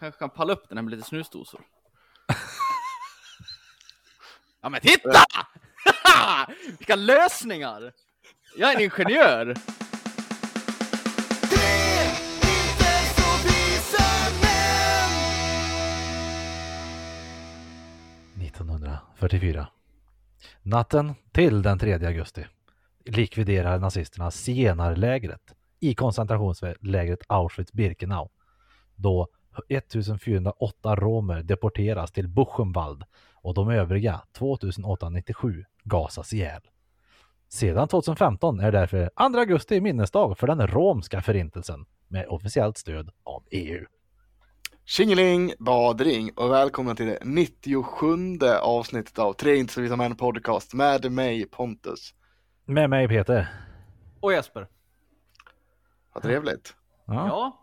kanske kan palla upp den här med lite snusdosor. ja men titta! Vilka lösningar! Jag är en ingenjör! Män. 1944. Natten till den 3 augusti likviderar nazisterna zigenarlägret i koncentrationslägret Auschwitz-Birkenau då 1408 romer deporteras till Buchenwald och de övriga 2897 gasas ihjäl. Sedan 2015 är därför 2 augusti minnesdag för den romska förintelsen med officiellt stöd av E EU. Tjingeling, badring och välkomna till det 97 avsnittet av Tre inte så visa män podcast med mig Pontus. Med mig Peter. Och Jesper. Vad trevligt. Ja. Ja.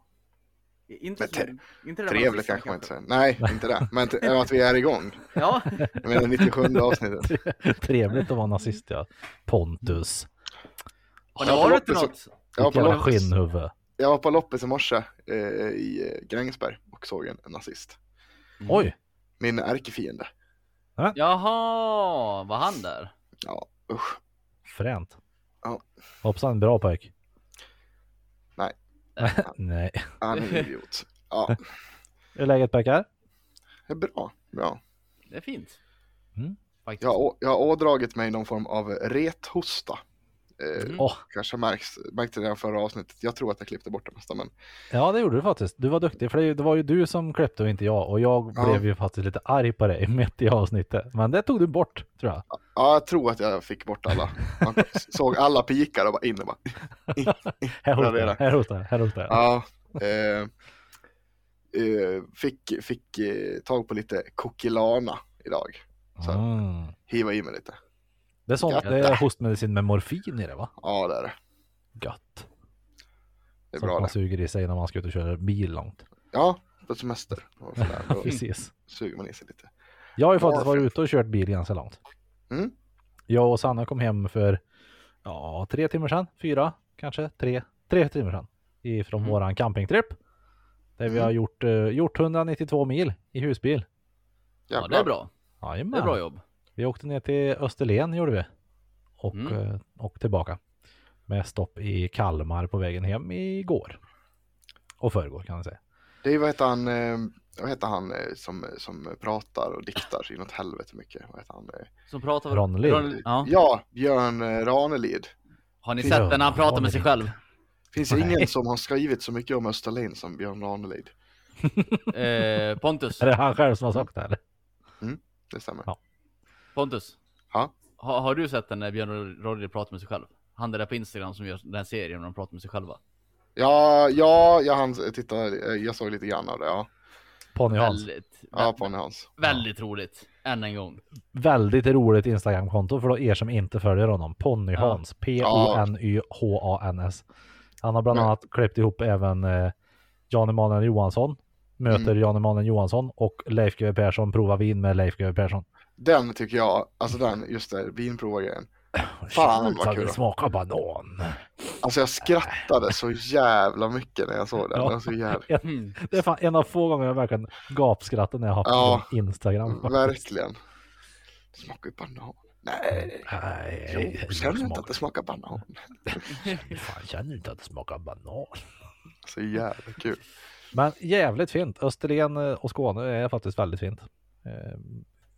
Inte, Men te- inte det Trevligt nazisterna kanske man inte säger. Nej, inte det. Men t- att vi är igång. Ja, Jag menar 97 avsnittet. Trevligt att vara nazist ja. Pontus. har Ja, ni varit i förlåt, något? Jag var Vilket på jävla loppis, skinnhuvud. jag var på loppis i morse eh, i eh, Grängesberg och såg en en nazist. Oj, Min ärkefiende. Jaha, var han där? Ja, usch. fränt. Ja. Hoppsan, bra pojk. Nej. Nej. Han är en idiot. Ja, Hur är läget pojkar? Mm. det är bra. bra. Det är fint. Mm. Faktiskt. Jag, har å- jag har ådragit mig någon form av rethosta. Eh, Mm. Åh, Kanske märks, märkte det redan förra avsnittet. Jag tror att jag klippte bort det mesta, men ja det gjorde du faktiskt. Du var duktig, för det det var ju du som klippte och inte jag. Och jag Ja. blev ju faktiskt lite arg på dig mitt i avsnittet. Men det tog du bort, tror jag. ja, jag tror att jag fick bort alla. Man såg alla pikar och bara in och bara, Här hostar det är jag, det. här hostar jag, här hostar jag. ja. Eh, eh, fick fick eh, tag på lite kokilana idag. så. Mm. Hiva i mig lite. Det är sånt, det är hostmedicin med morfin i det va? Ja, det är det. Gött. Det är Så bra att man det. Mm. suger i sig när man ska ut och köra bil långt. Ja, på semester. Och sådär. Ja, Då precis. suger man i sig lite. Jag har ju faktiskt Varför? varit ute och kört bil ganska långt. Mm. Jag och Sanna kom hem för ja, tre timmar sedan, fyra kanske, tre, tre timmar sedan ifrån Mm. våran campingtrip. Där vi Mm. har gjort, eh, gjort 192 mil i husbil. ja, det är bra. Det är Jajamän. bra jobb. Vi åkte ner till Österlen gjorde vi. Och, Mm. eh, och tillbaka. Med stopp i Kalmar på vägen hem igår. Och förrgår kan man säga. Det är ju vad heter han, eh, vad heter han eh, som, som pratar och diktar så inåt helvete mycket. Vad heter han? eh? Som pratar Ron Lind. Ja. Ja, Björn eh, Ranelid. Har ni Ja, sett den när han pratar Ron med sig Lind. själv? Finns det Nej. ingen som har skrivit så mycket om Österlen som Björn Ranelid? Eh, Pontus, Är det han själv som har sagt det eller? Det stämmer. Ja. Pontus. Ja. Ha, har du sett den när Björn Rodde pratar med sig själv? Han där på Instagram som gör den här serien när de pratar med sig själva. Ja, ja, jag, hann, titta, eh, jag såg lite grann av det. Ja, Ponny Hans. Väldigt, ja vä- Pony Hans. väldigt roligt. Än en gång. väldigt roligt Instagramkonto för då er som inte följer honom. Pony Ja. Hans. P-O-N-Y-H-A-N-S. Han har bland Men- annat klippt ihop även eh, Jan Emanuel Johansson. Möter Mm. Jan Emanuel Johansson och Leif GW Persson provar vin med Leif GW Persson. Den tycker jag, alltså den, just det, vinprovargrejen. Fan, vad Känns att kul. det smakar banan. Alltså jag skrattade så jävla mycket när jag såg den. Ja. Den var så jävla... Mm. Det är fan en av få gånger jag verkligen gapskrattar när jag har Ja. på Instagram. Mm, Verkligen. Det smakar ju banan. Nej, Nej, jo, det känner du inte smakar- att det smakar banan? Fan, känner du inte att det smakar banan? Så jävla kul. Men jävligt fint. Österlen eh, och Skåne är faktiskt väldigt fint. Eh,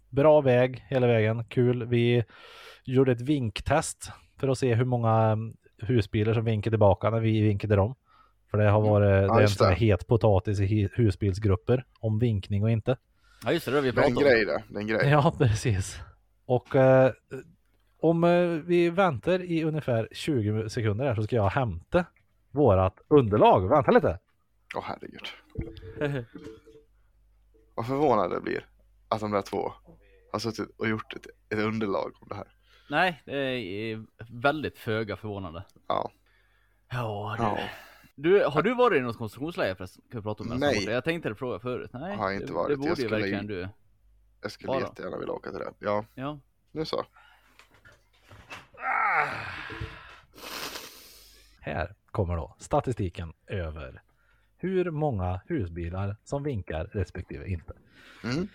Bra väg hela vägen, kul. Vi gjorde ett vinktest för att se hur många mm, husbilar som vinkade tillbaka när vi vinkade dem. För det har varit det är en Mm. just sån här det. het potatis i hi- husbilsgrupper om vinkning och inte. Ja just det, det har vi Det är en pratat om. grej det, det är en grej. Ja, precis. Och eh, om eh, vi väntar i ungefär 20 sekunder här så ska jag hämta vårat underlag. Vänta lite. Åh herregud. Vad förvånad jag blir att de där två har suttit och gjort ett, ett underlag om det här. Nej, det är väldigt föga förvånande. Ja. Ja, du. Ja, du. Har du varit i något konstruktionsläger förresten? Kan vi prata om det? Nej. Jag tänkte det fråga förut. Nej, Har jag inte det, varit. det Jag borde ju skulle ju- verkligen du. jag skulle Bara. jättegärna vilja åka till det. Ja, Ja. nu så. Här kommer då statistiken över hur många husbilar som vinkar respektive inte. Mm.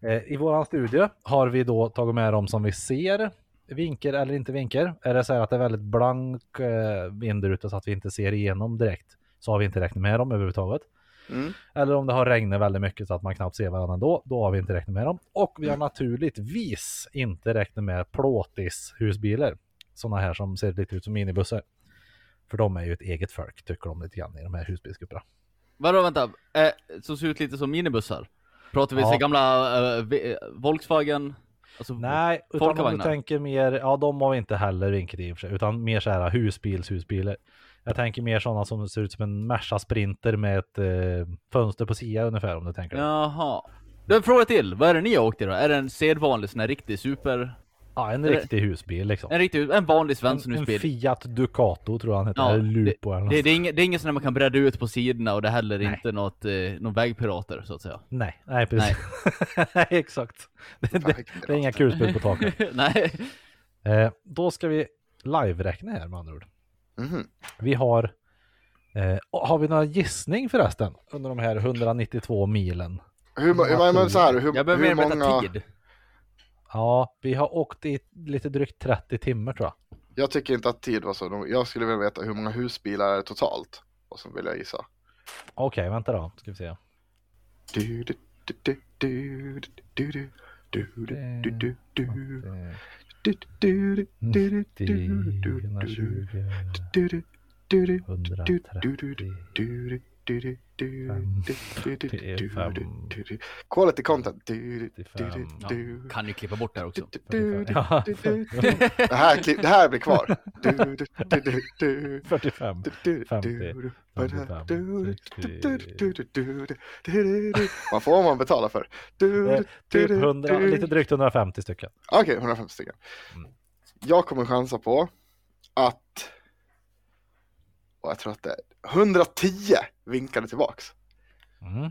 Eh, I våran studie har vi då tagit med dem som vi ser vinker eller inte vinker. Är det så här att det är väldigt blank eh, vindruta så att vi inte ser igenom direkt så har vi inte räknat med dem överhuvudtaget. Mm. Eller om det har regnat väldigt mycket så att man knappt ser varandra då, då har vi inte räknat med dem. Och vi har naturligtvis inte räknat med plåtis-husbilar. Sådana här som ser lite ut som minibussar. För de är ju ett eget folk, tycker de lite grann i de här husbilsgrupperna. Vadå vänta, eh, som ser ut lite som minibussar? Pratar vi Ja. så gamla eh, v- eh, Volkswagen? Alltså, Nej, utan om du Folkvagnar. tänker mer, ja de har vi inte heller vinkat i och för sig, utan mer så här husbils, husbilar. Jag tänker mer sådana som ser ut som en Merca Sprinter med ett eh, fönster på sidan ungefär om du tänker. Ja. Jaha. Du, en fråga till. Vad är det ni har åkt i då? Är det en sedvanlig sån här riktig super... en Eller- riktig husbil liksom. En riktig, en vanlig En, en svenssonhusbil? Fiat Ducato tror jag han heter, eller Lupo eller något. det, det, är inget, det är inget sånt där man kan bredda ut på sidorna och det är heller Nej. inte något, eh, någon vägpirater så att säga. Nej, nej precis. Nej, exakt. Det, det, det är inga kulspel på taket. Nej. Eh, då ska vi live-räkna här med andra ord. Mhm. Vi har... Eh, har vi några gissning förresten under de här 192 milen? Hur, må- hur, men så här, hur, Jag behöver hur mer veta många... tid. Ja, vi har åkt i lite drygt 30 timmar tror jag. Jag tycker inte att tid var så nog. Jag skulle vilja veta hur många husbilar är det totalt. Och så vill jag gissa. Okej, vänta då. Ska vi se. Du, du, du, du, du, du, du, du, du, du, du, du. Du, du, du, du, du, du, du, du. 120, Du, du, du, du, 130. du, du, du, du, du, du, du, Fem, du, du, du, det är du, fem, du, du. Quality content. Du, du, du, du, fyrtiofem, du. Kan ju klippa bort det här också. Du, du, du, Ja, du, du, du. Det här, klipp- det här blir kvar. Du, du, du, du, du. 45. 50, 55, 50. Vad får man betala för? Eh, Typ 100, lite drygt 150 stycken. Okej, 150 stycken. Mm. Jag kommer chansa på att... Och jag tror att det är 110 vinkade tillbaks. Mm.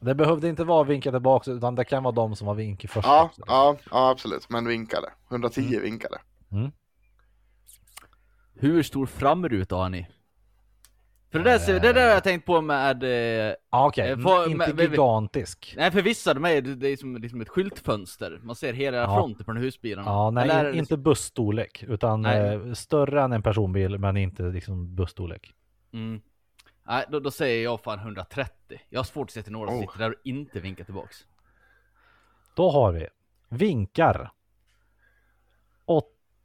Det behövde inte vara vinka tillbaka utan det kan vara de som var vinkel först. Ja, också. ja, ja, absolut. Men vinkade. 110 Mm. vinkade. Hur stor framruta har ni? För det där, ser- Eh. det där har jag tänkt på med... Eh, Ja, Okej, Eh, vad- Mm, men- inte men- gigantisk. nej för vissa, de är, det är som liksom ett skyltfönster. Man ser hela Ja. fronten på den här husbilen. Ja, nej, Eller är det liksom- inte busstorlek, utan Nej. eh, större än en personbil, men inte liksom busstorlek. Mm. Nej, då, då säger jag fan 130. Jag har svårt att se till några som Oh. sitter där och inte vinkar tillbaks. Då har vi vinkar.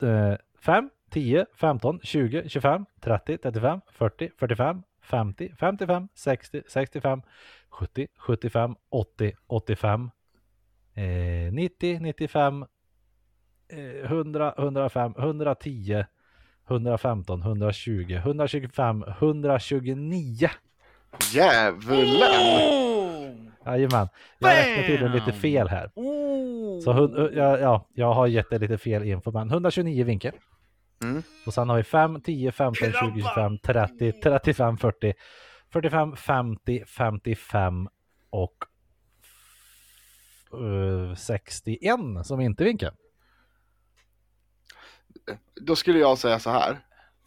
eh, 5, 10, 15, 20, 25, 30, 35, 40, 45, 50, 55, 60, 65, 70, 75, 80, 85, eh, 90, 95, eh, 100, 105, 110, 115, 120, 125, 129. Djävulen! Jajamän, jag räknade tydligen lite Bam! fel här. Oh. Så hun, ja, ja, jag har gett dig lite fel info, men 129 vinkel. Mm. Och sen har vi 5, 10, 15, 20, 25, 30, 35, 40, 45, 50, 55 och eh, 61 som inte vinkar. Då skulle jag säga så här.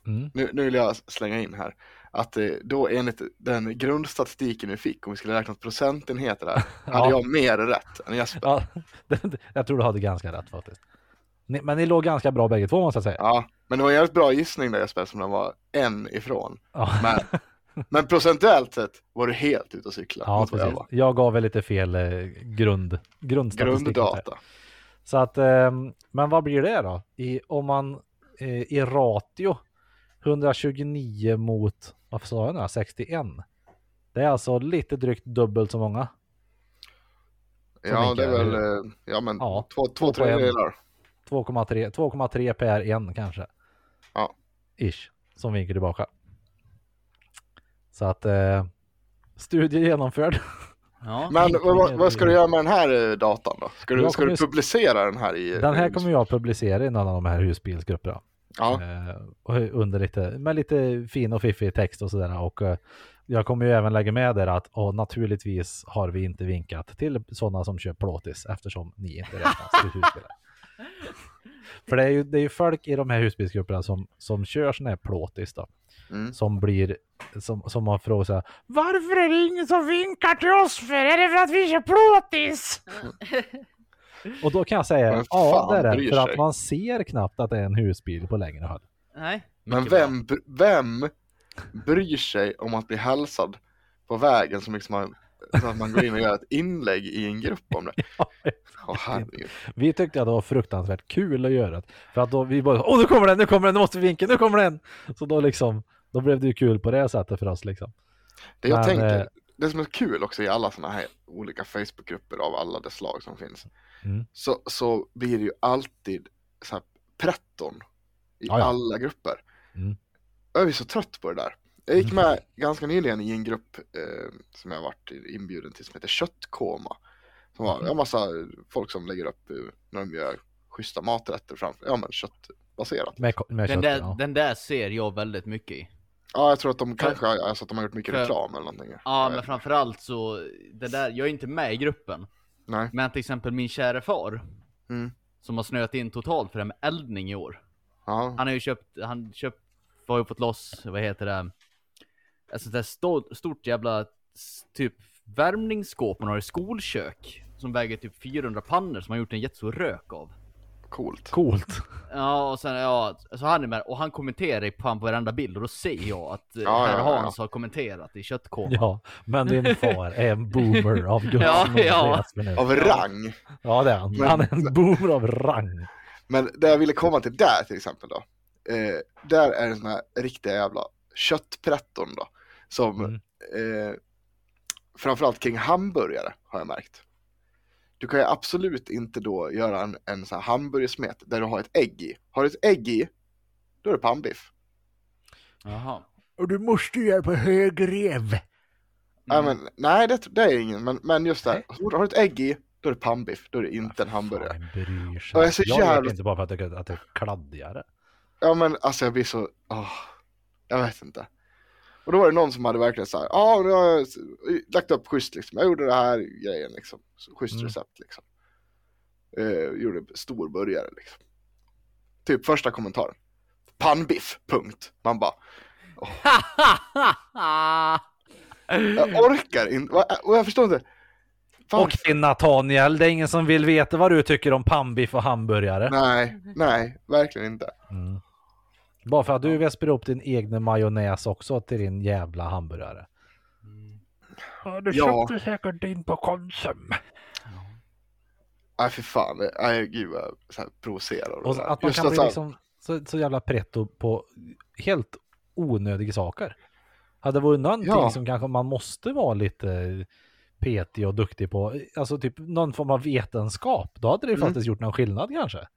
Mm. Nu, nu vill jag slänga in här. Att eh, då enligt den grundstatistiken vi fick, om vi skulle räkna procentenheter där, hade Ja. jag mer rätt än Jesper. Ja, det- det- jag tror du hade ganska rätt faktiskt. Ni, men ni låg ganska bra bägge två måste jag säga. Ja, men det var en jävligt bra gissning där Jesper, som den var en ifrån. Ja, Men, men procentuellt sett var du helt ute och cykla. ja mot vad jag precis. var. Jag gav väl lite fel eh, grund, grundstatistik. Grunddata. Så att, ehm, men vad blir det då? I, om man eh, i ratio 129 mot, vad sa jag nu, 61. Det är alltså lite drygt dubbelt så många. Som Ja, det är mycket, väl eller eh, ja, men Ja, två, två två på en. tredjedelar. 2,3 2,3 per en kanske. Ja. Ish, som vinker tillbaka. Så att, eh, studie genomförd. Ja. Men Tänk vad, vad- mer. vad ska du göra med den här eh, datan då? Ska du, Jag ska du kommer- publicera den här i... eh, Den här kommer jag publicera i någon av de här husbilsgrupperna. Ja, Eh, och under lite, med lite fin och fiffig text och sådär. Och eh, jag kommer ju även lägga med där att och naturligtvis har vi inte vinkat till sådana som kör plåtis eftersom ni inte räknas till husbilar. För det är, ju, det är ju folk i de här husbilsgrupperna som, som kör sådana här plåtis då. Mm. som blir som, som har frågat så här, Varför är det ingen som vinkar till oss för? Är det för att vi kör plåtis? Och då kan jag säga Men ja, fan det är det. bryr För att sig?" man ser knappt att det är en husbil på längre håll. Nej. Men Mycket bra. vem, br- vem bryr sig om att bli hälsad på vägen som liksom man, så att man går in och gör ett inlägg i en grupp om det? Åh herregud. Vi tyckte att det var fruktansvärt kul att göra det. För att då vi bara, åh nu kommer den, nu kommer den, nu måste vi vinka, nu kommer den! Så då liksom, då blev det ju kul på det sättet för oss liksom. Det jag Men, eh, tänker, det som är kul också i alla sådana här olika Facebookgrupper av alla de slag som finns, Mm. så, så blir det ju alltid så här pretton i Ja, ja. alla grupper. Mm. Jag är så trött på det där. Jag gick Mm. med ganska nyligen i en grupp eh, som jag varit inbjuden till som heter Köttkoma. Som var Mm. en massa folk som lägger upp eh, när de gör schyssta maträtter framför, ja men köttbaserat. Med, ko- med Den köttet, där, ja. den där ser jag väldigt mycket i. Ja jag tror att de För- kanske har, alltså, att de har gjort mycket för- reklam eller någonting. Ja, Jag men vet- framförallt så, det där, jag är inte med i gruppen. Nej. Men till exempel min kära far, Mm. som har snöat in totalt för det här med eldning i år. Ja. Han har ju köpt, han köpt, har ju fått loss, vad heter det, ett sånt där stort, stort jävla s- typ värmningsskåp man har i skolkök. Som väger typ 400 pannor som han gjort en jättestor rök av. Coolt. Coolt. Ja, och sen, ja, så han är med och han kommenterar i fan på varenda bild och då ser jag att eh, Ja, ja, herr ja, Hans har kommenterat i köttkolan. Ja, men din far är en boomer av Guds Ja, nåde, ja. Espen. Av rang. ja, det är han. Han är en boomer av rang. Men det jag ville komma till där till exempel då. Eh, där är det såna här riktiga jävla köttpretton då. Som Mm. eh, framförallt kring hamburgare har jag märkt. Du kan ju absolut inte då göra en, en sån här hamburgersmet där du har ett ägg i. Har du ett ägg i, då är det pannbiff. Jaha. Och du måste ju göra på hög rev. Mm. Nej, men, nej det, det är ingen, men, men just det. Har du ett ägg i, då är det pannbiff. Då är det inte en hamburgare. Fan, bryr sig. Ja, jag är Jag, så gör jävligt- inte bara för att jag tycker att det är kladdigare. Ja men alltså jag blir så, åh, jag vet inte. Och då var det någon som hade verkligen såhär, ja nu har jag s- lagt upp schysst liksom, jag gjorde det här grejen liksom, Så schysst Mm. recept liksom. Eh, gjorde stor burgare liksom. Typ första kommentaren, pannbiff, punkt. Man bara, jag orkar inte, Va- eh, och jag förstår inte. Fan, Och till Nathaniel, det är ingen som vill veta vad du tycker om pannbiff och hamburgare. nej, nej, verkligen inte. Mm. Bara för att du väsper upp din egen majonnäs också till din jävla hamburgare. Mm. Ja, du Ja. säkert din på Konsum. Nej fy fan, nej gud vad jag så här provocerar. av det Och så där. att man Just kan bli så här- liksom så, så jävla pretto på helt onödiga saker. Hade det varit någonting Ja. som kanske man måste vara lite petig och duktig på, alltså typ någon form av vetenskap, då hade det ju Mm. faktiskt gjort någon skillnad kanske.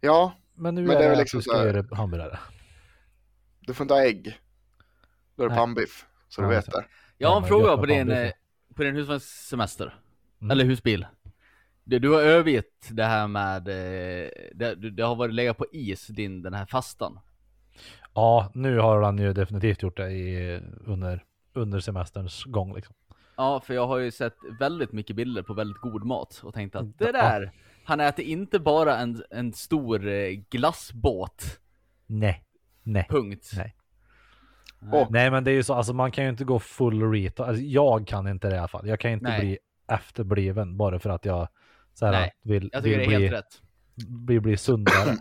Ja, Men nu Men är det det, är väl att liksom du ska så här- göra hamburgare. Du får inte ha ägg. Då är det Nej. pannbiff. Så du Ja, vet så. det. Jag har Ja, en men fråga gött på med din, pannbiff. eh, på din husvagnssemester. Mm. Eller husbil. Du, du har övergett det här med, eh, det, du- det har varit legat på is, din, den här fastan. Ja, nu har han ju definitivt gjort det i, under, under semesterns gång. Liksom. Ja, för jag har ju sett väldigt mycket bilder på väldigt god mat och tänkt att Ja. det där, han äter inte bara en, en stor eh, glassbåt, Nej, nej. punkt. Nej. Och, Nej men det är ju så, alltså man kan ju inte gå full retard. Alltså, jag kan inte det i alla fall. Jag kan inte Nej. bli efterbliven bara för att jag så här, Nej, vill, Jag vill tycker det är bli, helt rätt. bli, bli sundare.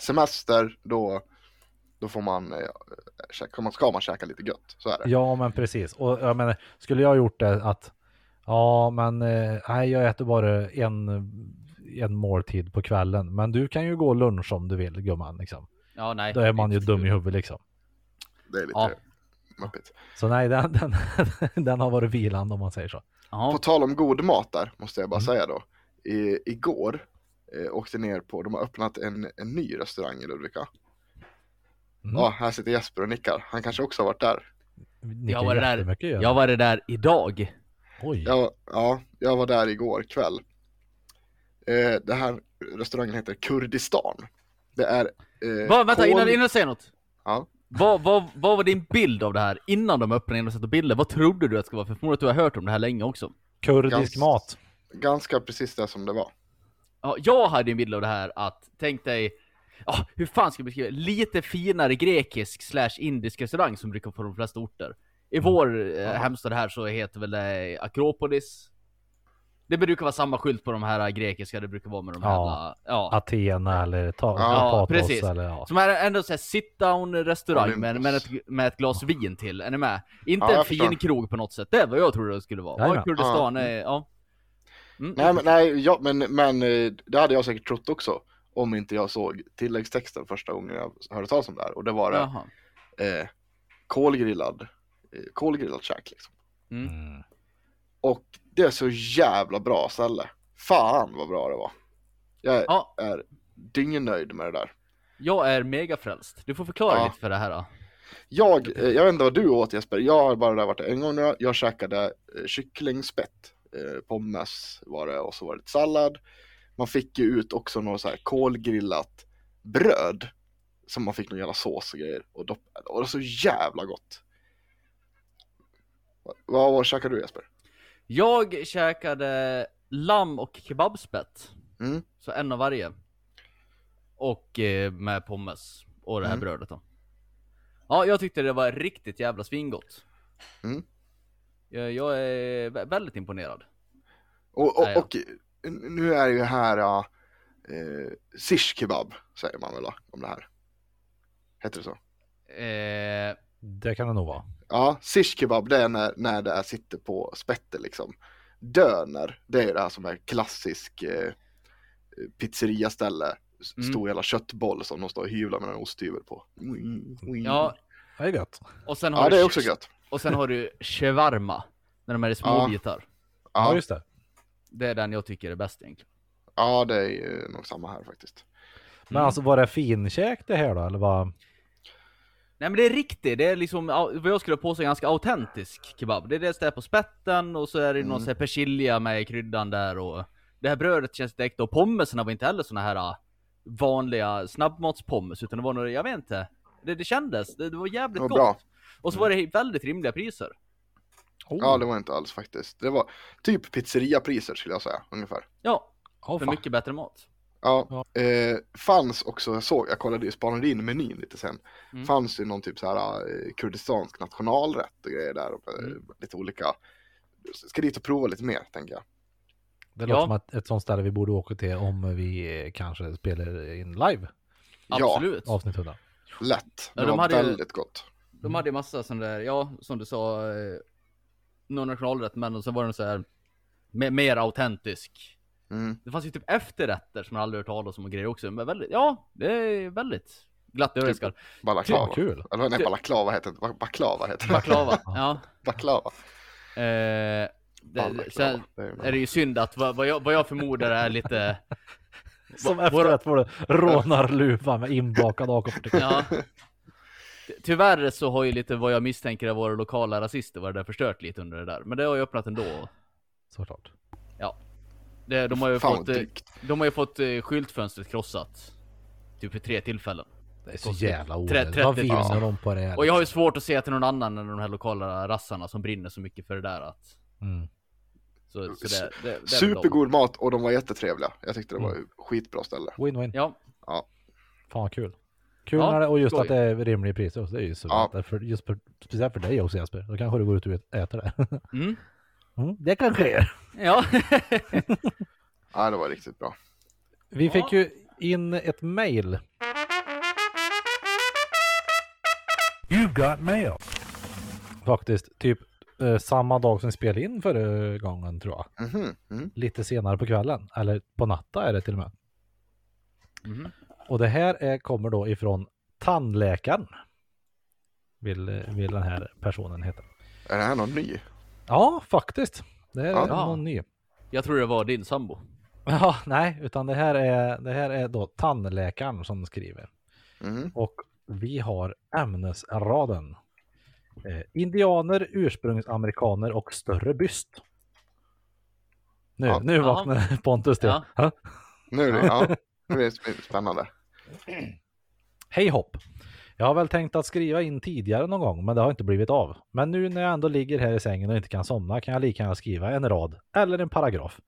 semester, då, då får man, eh, käka, man, ska man käka lite gött. Så är det. ja men precis. Och jag menar, skulle jag ha gjort det att ja men eh, nej jag äter bara en, en måltid på kvällen. Men du kan ju gå lunch om du vill gumman liksom. Ja, nej. Då är man ju dum i huvudet liksom. Det är lite Ja. muppigt. Så nej den, den, den har varit vilande om man säger så. På Ja, tal om god mat där, måste jag bara Mm. säga då. I, igår eh, åkte ner på, de har öppnat en, en ny restaurang i Ludvika. Mm. Ja, här sitter Jesper och nickar. Han kanske också har varit där. Ni Jag kan var det där- jättemycket göra. jag var det där idag. Oj. Jag, ja, jag var där igår kväll. Eh, det här restaurangen heter Kurdistan. Det är... Eh, Va, vänta, kol- innan, innan du säger något. Ja. Vad, vad, vad var din bild av det här innan de öppnade in och satte bilder? Vad trodde du att det skulle vara? För jag förmodar att du har hört om det här länge också. Kurdisk Gans- mat. ganska precis det som det var. Ja, jag hade en bild av det här att, tänk dig, ja, hur fan ska jag beskriva det? Lite finare grekisk slash indisk restaurang som brukar på de flesta orter. I Mm. vår eh, hemstad här så heter väl det Akropolis. Det brukar vara samma skylt på de här grekiska, det brukar vara med de här Ja. jävla... Ja. Athena eller ta, Ja, Patos precis. eller ja. Som är ändå såhär sit down restaurang med, Olympus. med, ett, med ett glas vin till, är ni med? Inte Ja, jag en fin förstår. krog på något sätt, det är vad jag trodde det skulle vara. Ja, Jajamän. Kurdistan är, ja. Mm. Nej, men, nej ja, men, men eh, det hade jag säkert trott också. Om inte jag såg tilläggstexten första gången jag hörde talas om det här. Och det var det, Jaha. eh, kolgrillad, eh, kolgrillad käk liksom. Mm. Mm. Och det är så jävla bra ställe. Fan vad bra det var. Jag Ja, är dyngnöjd med det där. jag är mega frälst. Du får förklara Ja. lite för det här då. Jag, eh, jag vet inte vad du åt Jesper, jag har bara där varit en gång nu. Jag käkade eh, kycklingspett, eh, pommes var det och så var det lite sallad. Man fick ju ut också något så här kolgrillat bröd som man fick någon jävla sås och grejer och doppade. Och det var så jävla gott. Vad, vad, vad käkade du Jesper? Jag käkade lamm och kebabspett. Mm. Så en av varje. Och eh, med pommes. Och det här Mm. brödet då. Ja, jag tyckte det var riktigt jävla svingott. Mm. Jag, jag är vä- väldigt imponerad. Och, och, Nej, ja. och eh, nu är det ju här ja, eh, shish kebab säger man väl va, om det här. Heter det så? Eh, Det kan det nog vara. Ja, shish kebab det är när, när det här sitter på spettet liksom. Döner, det är det här som är klassisk eh, pizzeriaställe. S- Mm. Stor jävla köttboll som de står och hyvlar med en osthyvel på. Mm, mm. ja, Det är gött. och sen har ja, det är du, också gött. Och sen har du shawarma. När de är i små Ja. bitar. Ja, Ja, just det. Det är den jag tycker är bäst egentligen. ja det är ju nog samma här faktiskt. Men Mm. alltså var det finkäk det här då? Eller vad? Nej men det är riktigt, det är liksom au- vad jag skulle påstå ganska autentisk kebab. Det är dels det här på spetten och så är det någon Mm. sån här persilja med i kryddan där och det här brödet känns direkt och pommesen var inte heller såna här ah, vanliga snabbmatspommes utan det var några, jag vet inte. Det, det kändes, det, det var jävligt Det var gott. bra. Och så var det väldigt rimliga priser. Ja, Oh. Oh. det var inte alls faktiskt. Det var typ pizzeriapriser skulle jag säga, ungefär. Ja, Åh, för fan. mycket bättre mat. Ja, eh, fanns också, jag såg, jag kollade ju, spanade in menyn lite sen. Mm. Fanns ju någon typ så här eh, kurdistansk nationalrätt och grejer där. Och, eh, Mm. Lite olika. Ska dit och prova lite mer, tänker jag. Det låter Ja. som att ett sånt ställe vi borde åka till om vi eh, kanske spelar in live Absolut. avsnitt 100. Lätt. Ja, Det de var hade ju- väldigt gott. De hade ju massa sån där, ja som du sa, eh, någon nationalrätt men och sen var det så här me- mer autentisk Mm. Det fanns ju typ efterrätter som man aldrig hört talas om och grejer också. Men väldigt, ja, det är väldigt glatt i ögonskall. Typ Balaklava. Fan, kul. Eller nej, Ty- balaklava heter det inte. Ba- Baklava heter det. Baklava, ja. Baklava. Eh, det, sen Balaklava. Det är är det ju synd att vad, vad, jag, vad jag förmodar är lite, Som Våra- efterrätt får du rånarluva med inbakad AK47. ja. Tyvärr så har ju lite vad jag misstänker av våra lokala rasister varit där förstört lite under det där. Men det har ju öppnat ändå. Såklart. Det, de, har ju Fan fått, vad eh, drygt. de har ju fått eh, skyltfönstret krossat. Typ vid tre tillfällen. Det är så Kostar jävla tre- onödigt. Vad 30 vinner de på det? här? Och jag har ju svårt att se till någon annan än de här lokala rassarna som brinner så mycket för det där att... Mm. Så, så det, det, det är väl dem. Supergod mat och de var jättetrevliga. Jag tyckte det var Mm. skitbra ställe. Win-win. Ja, Fan vad kul. Kul Ja, när det, och just skoj. att det är rimliga priser också. Det är ju så Ja. bra. Därför- just för, Speciellt för dig också Jesper. Då kanske du går ut och äter där. Mm. Mm, det kanske är. Ja. Ja, det var riktigt bra. Vi Ja. fick ju in ett mail. You've got mail. Faktiskt typ eh, samma dag som vi spelade in förra gången tror jag. Mhm. Mm. Lite senare på kvällen. Eller på natten är det till och med. Mhm. Och det här är, kommer då ifrån tandläkaren. Vill, eh, vill den här personen heta. Är det här någon ny? Ja, faktiskt. Det här är Ja. någon ny. Jag tror det var din sambo. Ja, nej, utan det här är, det här är då tandläkaren som skriver. Mm. Och vi har ämnesraden. Eh, indianer, ursprungsamerikaner och större byst. Nu, Ja. nu Ja. vaknar Pontus till. Ja. Ja. Nu är det, ja. Nu är det sp- spännande. Hej hopp! Jag har väl tänkt att skriva in tidigare någon gång, men det har inte blivit av. Men nu när jag ändå ligger här i sängen och inte kan somna kan jag lika gärna skriva en rad eller en paragraf.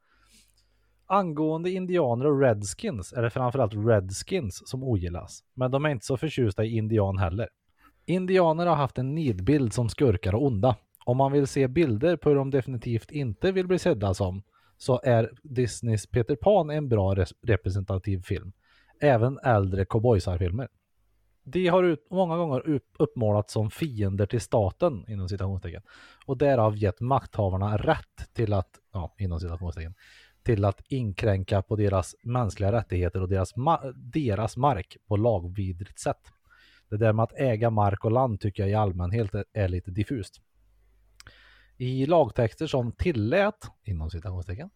Angående indianer och redskins är det framförallt redskins som ogillas, men de är inte så förtjusta i indian heller. Indianer har haft en nidbild som skurkar och onda. Om man vill se bilder på hur de definitivt inte vill bli sedda som, så är Disneys Peter Pan en bra res- representativ film. Även äldre cowboysarfilmer. De har ut, många gånger upp, uppmålats som fiender till staten, inom citationstecken, och därav gett makthavarna rätt till att, ja, inom citationstecken, till att inkränka på deras mänskliga rättigheter och deras, ma- deras mark på lagvidrigt sätt. Det där med att äga mark och land tycker jag i allmänhet är- är lite diffust. I lagtexter som tillät, inom citationstecken,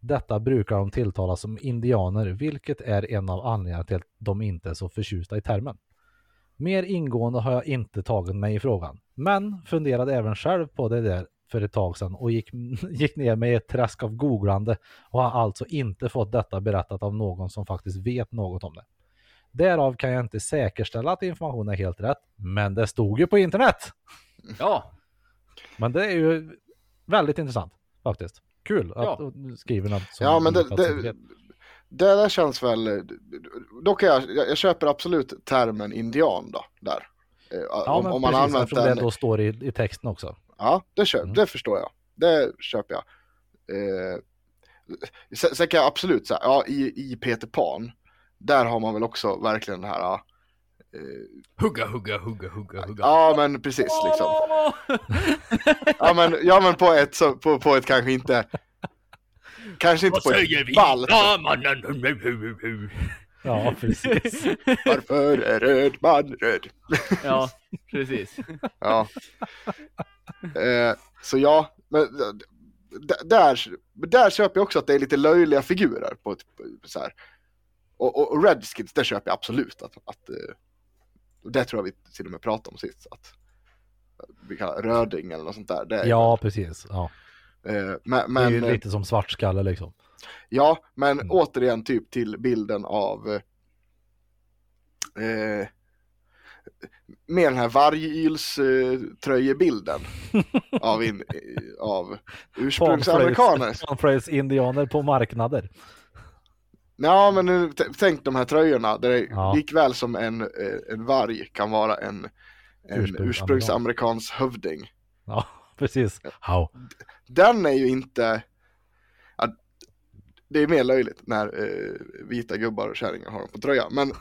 detta brukar de tilltalas som indianer, vilket är en av anledningarna till att de inte är så förtjusta i termen. Mer ingående har jag inte tagit mig i frågan, men funderade även själv på det där för ett tag sedan och gick, gick ner mig i ett träsk av googlande och har alltså inte fått detta berättat av någon som faktiskt vet något om det. Därav kan jag inte säkerställa att informationen är helt rätt, men det stod ju på internet. Ja, Men det är ju väldigt intressant faktiskt. Kul att Ja. du skriver något som Ja, men det, insatt som det, begrepp. det där känns väl... Då kan jag, jag, jag köper absolut termen indian då, där. Eh, ja, om, men om man precis, använt eftersom det den. då står i, i texten också. Ja, det, köp, Mm. det förstår jag. Det köper jag. Eh, sen, sen kan jag absolut säga, ja, i, i Peter Pan, där har man väl också verkligen den här... eh, hugga, hugga, hugga, hugga, hugga. ja, men precis liksom. Åh! Ja men, ja, men på, ett, så, på, på ett kanske inte... Kanske inte Vad på säger vi? ett ballt. Ja, mannen. Ja, precis. Varför är röd man röd? Ja, precis. Ja. eh, så ja, men d- d- där, där köper jag också att det är lite löjliga figurer. På ett, så här. Och, och- och Redskins, det köper jag absolut. Att, att, eh, och det tror jag vi till och med pratade om sist. Att, eh, vi kallar det röding eller något sånt där. Det är, ja, precis. Ja. eh, Det men, är men, ju lite som svartskalle liksom. Ja, men Mm. återigen typ till bilden av eh, eh, med den här vargylströjebilden eh, av, in, eh, av ursprungsamerikaner. indianer på marknader. Ja, men nu, t- tänk de här tröjorna där det Ja. likväl som en, eh, en varg kan vara en, en Ursprungsamerikan. ursprungsamerikansk hövding. Ja, precis. How? Den är ju inte... Ja, det är mer löjligt när eh, vita gubbar och kärringar har dem på tröjan. Men eh,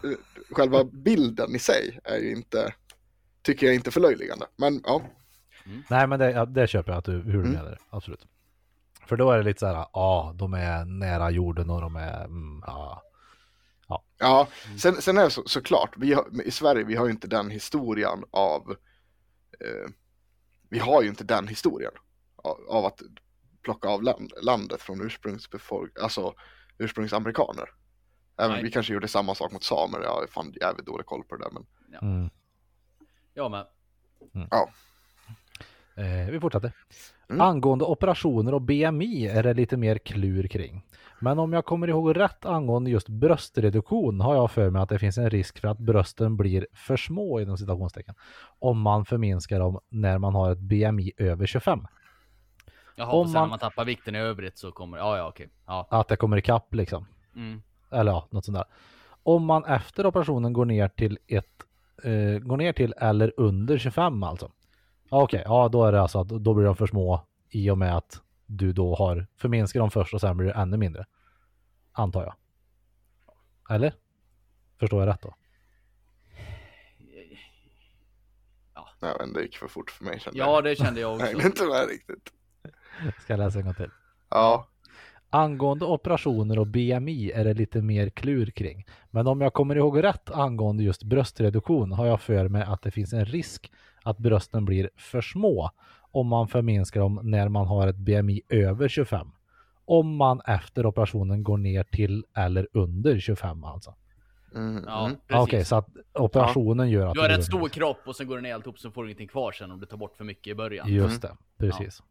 själva bilden i sig är ju inte... Tycker jag inte förlöjligande. Men ja. Nej, men det, ja, det köper jag att du, hur du Mm. menar det. Absolut. För då är det lite så här, ja, ah, de är nära jorden och de är, mm, ah. ja. Mm. Sen, sen är det så, såklart, vi har, i Sverige vi har ju inte den historien av... Eh, vi har ju inte den historien av, av att plocka av land, landet från ursprungsbefolk, alltså ursprungsamerikaner. Även, Nej. vi kanske gjorde samma sak mot samer, jag har fan jävligt dålig koll på det där. Men... Mm. Ja, men. Eh, vi fortsätter. Mm. Angående operationer och BMI är det lite mer klur kring. Men om jag kommer ihåg rätt angående just bröstreduktion har jag för mig att det finns en risk för att brösten blir för små inom citationstecken. Om man förminskar dem när man har ett BMI över 25. Jaha, Om och sen man- när man tappar vikten i övrigt så kommer Ja, ja, okej. Ja. Att det kommer ikapp liksom. Mm. Eller ja, något sånt där. Om man efter operationen går ner till ett, eh, går ner till eller under 25 alltså. Ja, Okej, ja då är det alltså att då blir de för små i och med att du då har förminskar dem först och sen blir det ännu mindre. Antar jag. Eller? Förstår jag rätt då? Nej, men det gick för fort för mig kände Ja, det kände jag jag. Jag också. hängde inte med riktigt. Ska jag läsa en gång till? Ja, Angående operationer och BMI är det lite mer klur kring. Men om jag kommer ihåg rätt angående just bröstreduktion har jag för mig att det finns en risk att brösten blir för små om man förminskar dem när man har ett BMI över 25. Om man efter operationen går ner till eller under 25 alltså. Ah, mm, Ja, mm. Okej, precis. så att operationen gör att Du har det rätt blir- stor kropp och sen går den ner alltihop så får du ingenting kvar sen om du tar bort för mycket i början. Just det, precis.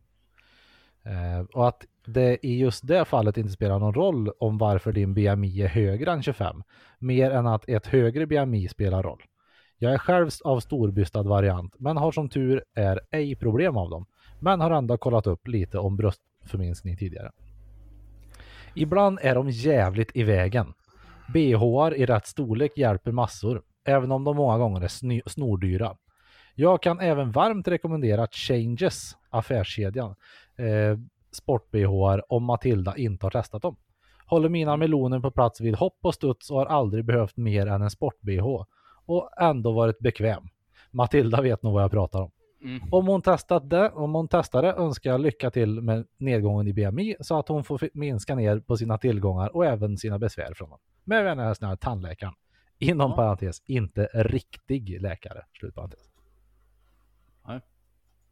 Eh, och att det i just det fallet inte spelar någon roll om varför din BMI är högre än 25, mer än att ett högre BMI spelar roll. Jag är själv av storbystad variant, men har som tur är ej problem av dem, men har ändå kollat upp lite om bröstförminskning tidigare. Ibland är de jävligt i vägen. BHR i rätt storlek hjälper massor, även om de många gånger är sny- snordyra. Jag kan även varmt rekommendera Changes, affärskedjan, eh, sport-BHR om Matilda inte har testat dem. Håller mina meloner på plats vid hopp och studs och har aldrig behövt mer än en sport-BH och ändå varit bekväm. Matilda vet nog vad jag pratar om. Mm. Om hon, testat det, om hon testar det önskar jag lycka till med nedgången i BMI så att hon får fi- minska ner på sina tillgångar och även sina besvär från dem. Med vänliga hälsningar tandläkaren. Inom Ja. parentes, inte riktig läkare. Slut parentes.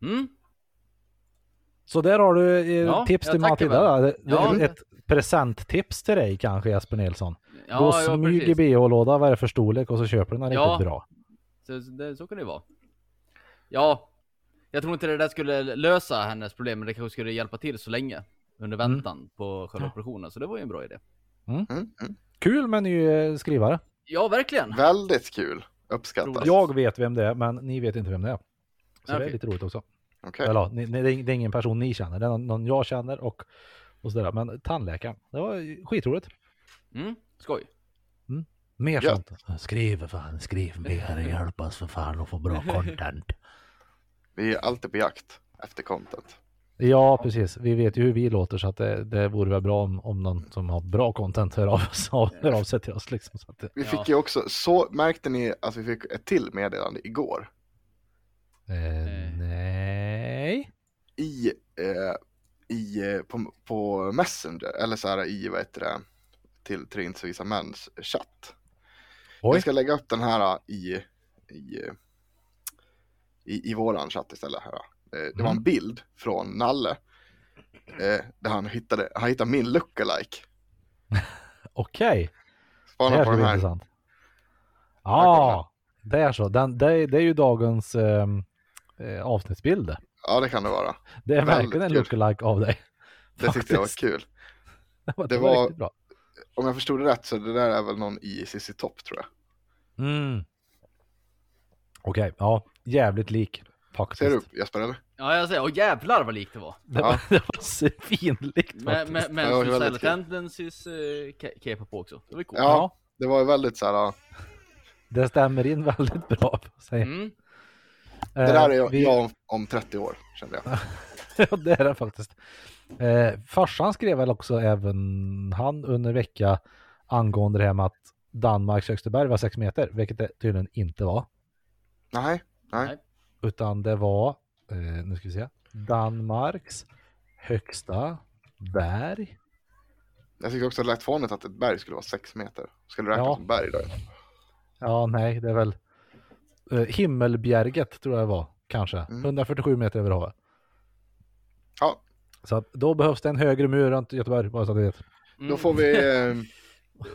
Mm. Så där har du eh, Ja, tips jag till tackar Matilda. väl. då. Det- det Ja. är Ett presenttips till dig kanske Jesper Nilsson. Ja, Gå och ja, smyg i precis. bh-låda vad det är för storlek och så köper du den Ja. riktigt bra. Så, så, det, så kan det vara. Ja, jag tror inte det där skulle lösa hennes problem, men det kanske skulle hjälpa till så länge under Mm. väntan på själva Ja. operationen, så det var ju en bra idé. Mm, mm. Kul med ny eh, skrivare. Ja, verkligen. Väldigt kul. Uppskattat. Roligt. Jag vet vem det är men ni vet inte vem det är. Så det är Okej. lite roligt också. Okej. Eller ja, ni, ni, det är ing- det är ingen person ni känner, det är någon, någon jag känner och, och sådär. Men tandläkaren, det var skitroligt. Mm, skoj. Mer Gött. sånt. Skriv fan, skriv mer, hjälp oss för fan att få bra content. Vi är alltid på jakt efter content. Ja, precis. Vi vet ju hur vi låter så att det, det vore väl bra om, om någon som har bra content hör av, hör av sig till oss. Liksom, så att det, Vi Ja. fick ju också, så märkte ni att vi fick ett till meddelande igår eh, Eh. nej. i, eh, i eh, på, på Messenger, eller så här i vad heter det, till Tre inte så visa mäns chatt. Oj. Jag ska lägga upp den här eh, i, i, eh, i, i våran chatt istället. Här. eh. Eh, Det Mm. var en bild från Nalle eh, där han hittade, han hittade min lookalike. Okej, det Spana här på ska den bli här. intressant. kommer Ja, det är så. Den, det, är, det är ju dagens ehm, eh, avsnittsbild. Ja, det kan det vara. Det är Väldigt verkligen en kul. lookalike av dig. Det tyckte jag var Faktiskt. kul. Det var, det var- riktigt bra. Om jag förstod det rätt så det där är väl någon i CC Topp tror jag. Mm. Okej, ja. Jävligt lik. Faktiskt. Ser du upp Jesper eller? Ja, jag säger, åh jävlar vad likt det var. Det var, det var svinlikt Men, faktiskt. men, Ja, det var men Silent väldigt kul. Tendencies eh, ke- kepa på också. Det var ju coolt. Ja. Det var ju väldigt så här, Det stämmer in väldigt bra. Säg. Mm. det där är Eh, jag, vi- jag om, om 30 år kände jag. Ja, det är det faktiskt. Eh, farsan skrev väl också även han under vecka angående det här med att Danmarks högsta berg var 6 meter, vilket det tydligen inte var. Nej, Utan det var, eh, nu ska vi se, Danmarks högsta berg. jag tyckte också det lät fånigt att ett berg skulle vara 6 meter. Skulle det räknas Ja. som berg då? Ja, nej, det är väl eh, Himmelbjerget tror jag det var, kanske. Mm. 147 meter över havet. Ja. Så att då behövs det en högre mur runt Göteborg, bara så att du vet. Mm. Då får vi... eh,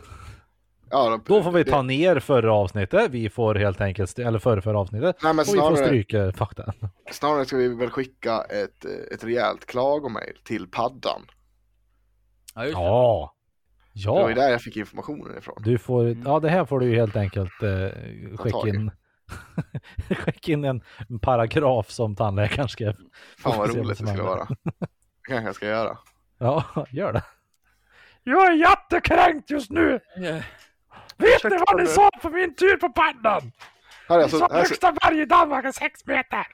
Ja, Då får vi ta ner förra avsnittet. Vi får helt enkelt, st- eller förra, förra avsnittet. Nej men Och vi får snarare, stryka fakta. snarare ska vi väl skicka ett, eh, ett rejält klagomail till paddan. Ja, just det. Ja. Det var ju Ja. där jag fick informationen ifrån. Du får, Mm. ja det här får du ju helt enkelt eh, tag skicka i. in. skicka in en paragraf som tandläkaren skrev. Fan vad får se vad roligt som det skulle händer. vara. Det kanske jag ska göra. Ja, gör det. Jag är jättekränkt just nu! Vet ni vad ni sa på min tur på pannan? Här är alltså, här är berg i Danmark är sex meter!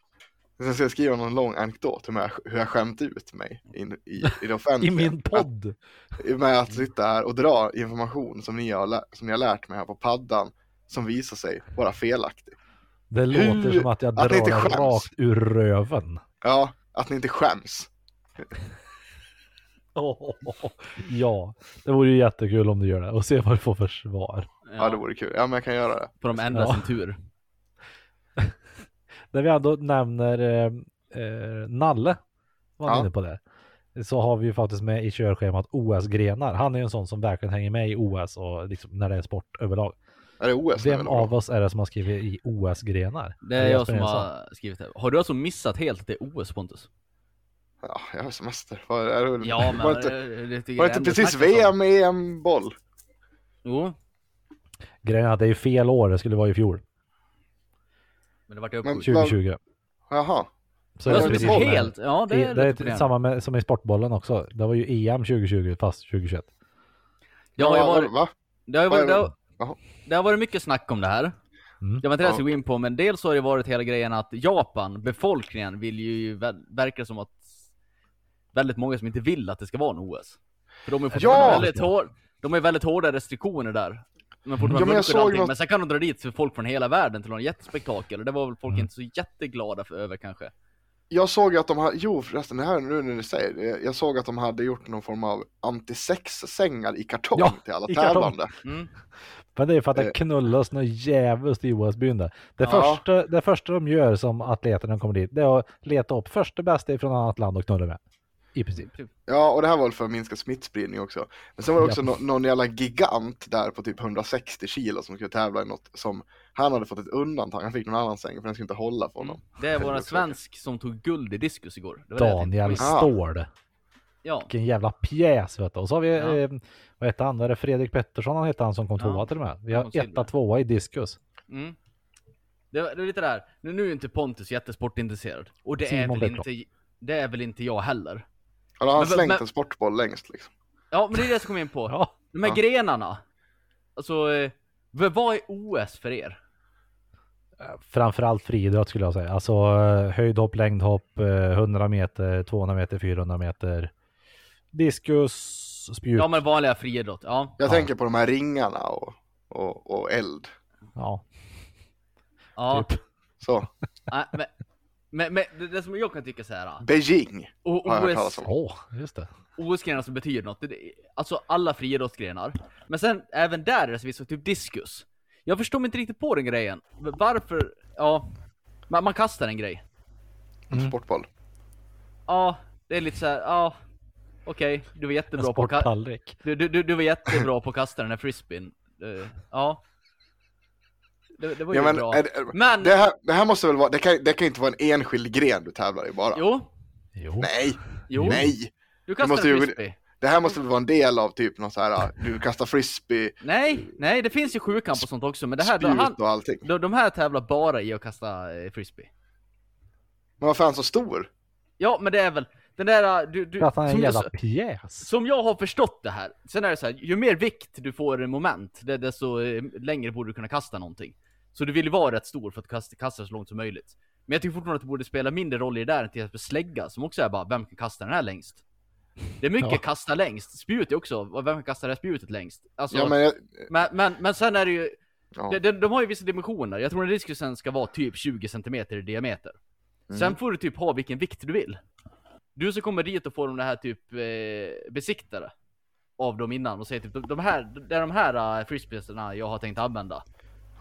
Sen ska jag skriva någon lång anekdot om hur jag, hur jag skämt ut mig in, i, i det I offentliga. min podd! Att, med att sitta här och dra information som ni, har, lä- som ni har lärt mig här på paddan som visar sig vara felaktig. Det Hur- låter som att jag att drar ni inte den skäms. rakt ur röven. Ja, att ni inte skäms. Åh, ja, det vore ju jättekul om du gör det och se vad du får för svar. Ja. det vore kul. Ja, men jag kan göra det. På de enda Ja. sin tur. När vi ändå nämner eh, eh, Nalle, var ni Ja. inne på det, så har vi ju faktiskt med i körschemat OS-grenar. Han är ju en sån som verkligen hänger med i OS och liksom när det är sport överlag. Är det OS nu Vem eller? av oss är det som har skrivit i OS-grenar? Det är jag som har skrivit det. Har du alltså missat helt att det är OS Pontus? Ja, jag har semester. Var, är det, Ja men... var det inte, det, det tycker var jag det inte ändå alltså. precis snackas om. VM, EM-boll? Jo, Grejen är att det är ju fel år, det skulle vara i fjol. men det vart ju Men- uppskjutet. 2020. Jaha. Så Det är var det typ precis som- helt... Ja det Det är, lite är problem. samma med, som i sportbollen också. Det var ju EM 2020 E fast 2021. Jag har ju varit, va? det, har ju vad varit, det, är det? har, Jaha. det har varit mycket snack om det här. Mm. Det var inte det jag Ja. skulle gå in på, men dels så har det varit hela grejen att Japan, befolkningen, vill ju, vä- verkar som att väldigt många som inte vill att det ska vara en OS. För de är fortfarande Ja! väldigt hårda, de är väldigt hårda restriktioner där. Men fortfarande Ja, men jag mörker och såg allting, något- men sen kan de dra dit för folk från hela världen till någon jättespektakel, och det var väl folk Mm. inte så jätteglada för över kanske. Jag såg ju att de hade, jo förresten, det här nu när ni säger det, jag såg att de hade gjort någon form av antisex-sängar i kartong Ja, till alla i kartong. tävlande. Mm. Men det är för att det Eh. knullas något djävulskt i OS-byn där. Det, Ja. första, det första de gör som atleter när de kommer dit, det är att leta upp första bästa från annat land och knulla med. I princip. Typ. Ja, och det här var väl för att minska smittspridning också. Men sen var det också Ja. nå- någon jävla gigant där på typ 160 kilo som skulle tävla i något som han hade fått ett undantag, han fick någon annan säng för den skulle inte hålla för honom. Det är vår Helvete. svensk som tog guld i diskus igår. Det var det jag tänkte på. Daniel Ah. Ståhl. Ja. Vilken jävla pjäs vet du. Och så har vi, Ja. eh, vad hette han, Var det Fredrik Pettersson han hette han som kom Ja. tvåa till och med. Vi Han har kom silver. etta, tvåa i diskus. Mm. Det, var- det är lite där. Nu, nu är inte Pontus jättesportintresserad. Och det är, Simon väl Bäckblom. inte, det är väl inte jag heller. Ja, då har han Mm. Men- men- slängt men- en sportboll längst liksom. Ja, men det är det som kom in på. Ja. De här Ja. grenarna. Alltså, eh, vad vad är OS för er? Framförallt friidrott skulle jag säga. Alltså eh, höjdhopp, längdhopp, eh, 100 meter, 200 meter, 400 meter. Diskus, spjut. Ja, men vanliga friidrott. Ja. Jag Ja. tänker på de här ringarna och, och, och eld. Ja, ja. typ. Så, Nej, men, men, men det, det som jag kan tycka så här. Beijing Och har jag hört talas OS, om. Åh, just det. OS-grenar som betyder något. Det- Det, alltså alla friidrottsgrenar. Men sen även där är det så visst, typ diskus. Jag förstår mig inte riktigt på den grejen. Varför? Ja. Man, man kastar en grej. En Mm. sportboll. Ja, det är lite så här. ja. Okej, du var En jättebra på att ka- sporttallrik. du, du, du, du var jättebra på att kasta den här frisbeen. Eh, Ja. Det, det var ju Ja, men, bra. är det, Men, det, här, det här måste väl vara, det kan, det kan inte vara en enskild gren du tävlar i bara. jo, Jo. Nej, jo. nej. Du kastar måste en ju- frisbee. Det här måste väl vara en del av typ någon så här, du kastar frisbee, Nej, nej, det finns ju sjukamp och sånt också, men det här, då, han, spjut och allting. då, de här tävlar bara i att kasta eh, frisbee. Men varför är han så stor? Ja, men det är väl den där... eh, Du, du, För att han är en som, jävla pjäs. som jag har förstått det här, sen är det så här, ju mer vikt du får i moment, det- desto eh, längre borde du kunna kasta någonting. Så du vill ju vara rätt stor för att kasta, kasta så långt som möjligt. Men jag tycker fortfarande att det borde spela mindre roll i det där än till exempel slägga, som också är bara, vem kan kasta den här längst? Det är mycket Ja. kasta längst, spjut är också, vem kan kasta det här spjutet längst? Alltså, Ja, men... men, jag- Men, men, sen är det ju, ja. de, de, de har ju vissa dimensioner, jag tror att diskusen ska vara typ 20 cm i diameter. Mm. Sen får du typ ha vilken vikt du vill. Du som kommer dit och får de här typ eh, besiktade av dem innan och säger typ de, de här, det är de här uh, frisbeesarna jag har tänkt använda.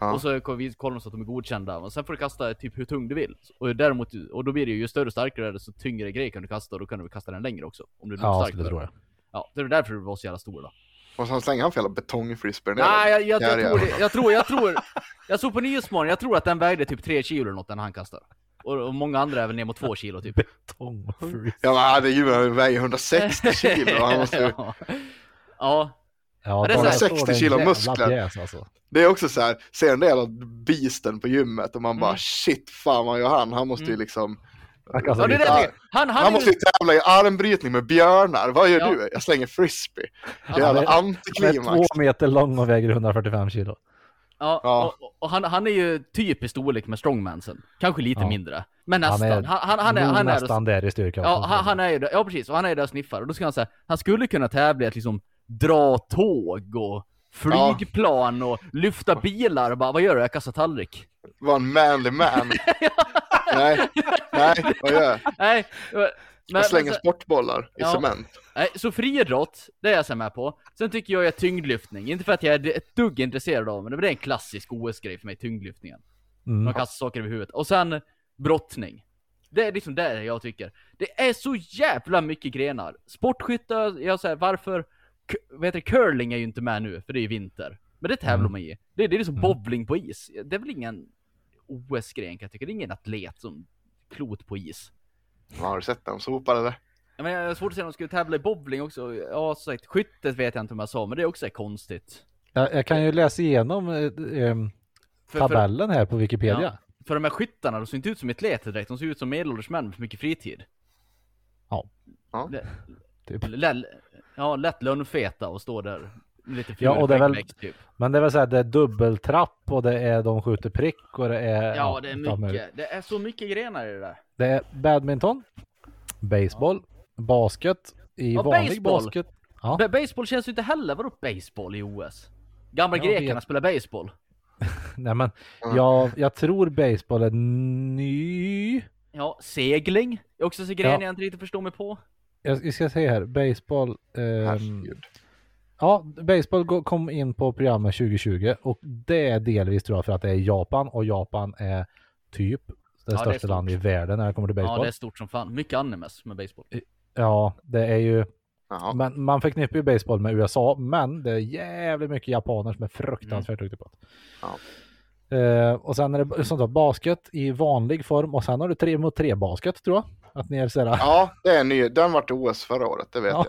Ja. Och så kollar vi kollar de så att de är godkända och sen får du kasta typ hur tung du vill. Och däremot, och då blir det ju, ju större och starkare desto tyngre grej kan du kasta och då kan du kasta den längre också. Om du är Ja, stark skulle för tro det. jag. Ja, det är därför du var så jävla stor då. Och sen slänger han för jävla betongfrisbee ner Nej, jag, jag, den. jag, Där är tror det, jag tror, jag tror, jag såg på Nyhetsmorgon, jag tror att den vägde typ 3 kilo eller något den han kastade. Och, och många andra är väl ner mot 2 kilo typ. Betong. freak. Ja, men herregud, han väger 160 kilo. och Han måste, ju- Alltså, ja. ja, Ja, det är så här Daniel Ståhl 60 en kilo jävla muskler. pjäs, alltså. Det är också så här, ser en del av beasten på gymmet och man bara Mm. shit, fan vad gör han? Han måste ju Mm. liksom... Han kastar ja det är det jag tänker. Han, han, Han måste ju tävla i armbrytning med björnar. Vad gör Ja. du? Jag slänger frisbee. Det är Ja, jävla det- Han är antiklimax. två meter lång och väger 145 kilo. ja, Ja. Och, och han, han är ju typ i storlek med strongmansen. Kanske lite Ja. mindre. Men nästan. Han är, han, han, är, nog han är, nästan där i styrka. ja, han, han är ju där, ja precis, och han är ju där och sniffar. Och då ska han säga, han skulle kunna tävla i att liksom dra tåg och flygplan och lyfta bilar och bara, vad gör du? Jag kastar tallrik. Var en manly man. nej, nej, vad gör jag? Nej, eh, men, men Jag slänger så- sportbollar i Ja. cement. Nej, så friidrott, det är jag så här med på. Sen tycker jag att tyngdlyftning, inte för att jag är ett dugg intresserad av men det är en klassisk OS-grej för mig, tyngdlyftningen. Mm. De kastar saker över huvudet. Och sen brottning. Det är liksom det jag tycker. Det är så jävla mycket grenar. Sportskytte, jag säger varför? K- vad heter det? Curling är ju inte med nu, för det är ju vinter. Men det tävlar Mm. man i. Det, det är liksom Mm. bowling på is. Det är väl ingen OS-gren kan jag tycka. Det är ingen atlet som klot på is. Ja, har du sett dem sopa det där? Ja, men jag har svårt att se om de skulle tävla i bowling också. Ja, som sagt, skyttet vet jag inte om jag sa, men det är också konstigt. Jag, jag kan ju läsa igenom eh, ehm, För, för, tabellen här på Wikipedia. Ja. för de här skyttarna, de ser inte ut som atleter direkt, de ser ut som medelålders män med för mycket fritid. Ja. Ja. L- Typ. l- ja, lätt lönfeta och står där Lite Ja, och det är väl- fyrfäktmäck, typ. Men det är väl såhär, det är dubbeltrapp och det är de skjuter prick och det är... Ja, det är allt möjligt. mycket. Det är så mycket grenar i det där. Det är badminton, baseball, basket, i Ja, vanlig baseball. basket. Ja. Men baseball känns ju inte heller, vadå baseball i OS? Gamla Jag grekerna vet. spelar baseball. Nej men, Mm. jag, jag tror baseball är ny. Ja, segling. Det är också så grejen Ja. jag inte riktigt förstår mig på. Jag jag ska se här, baseball. ehm, Herregud. ja, baseball go- kom in på programmet 2020 och det är delvis tror jag för att det är Japan och Japan är typ det det är största stort. landet i världen när det kommer till Ja, baseball. det är stort som fan. Mycket animes med baseball. Ja, det är ju, Jaha. men man förknippar ju baseball med USA, men det är jävligt mycket japaner som är fruktansvärt Mm. duktiga på det. Ja. Eh, och sen är det sånt där basket i vanlig form och sen har du tre mot tre basket tror jag. Att ni är sådär, Ja, det är en ny. Den vart i OS förra året, det vet Ja,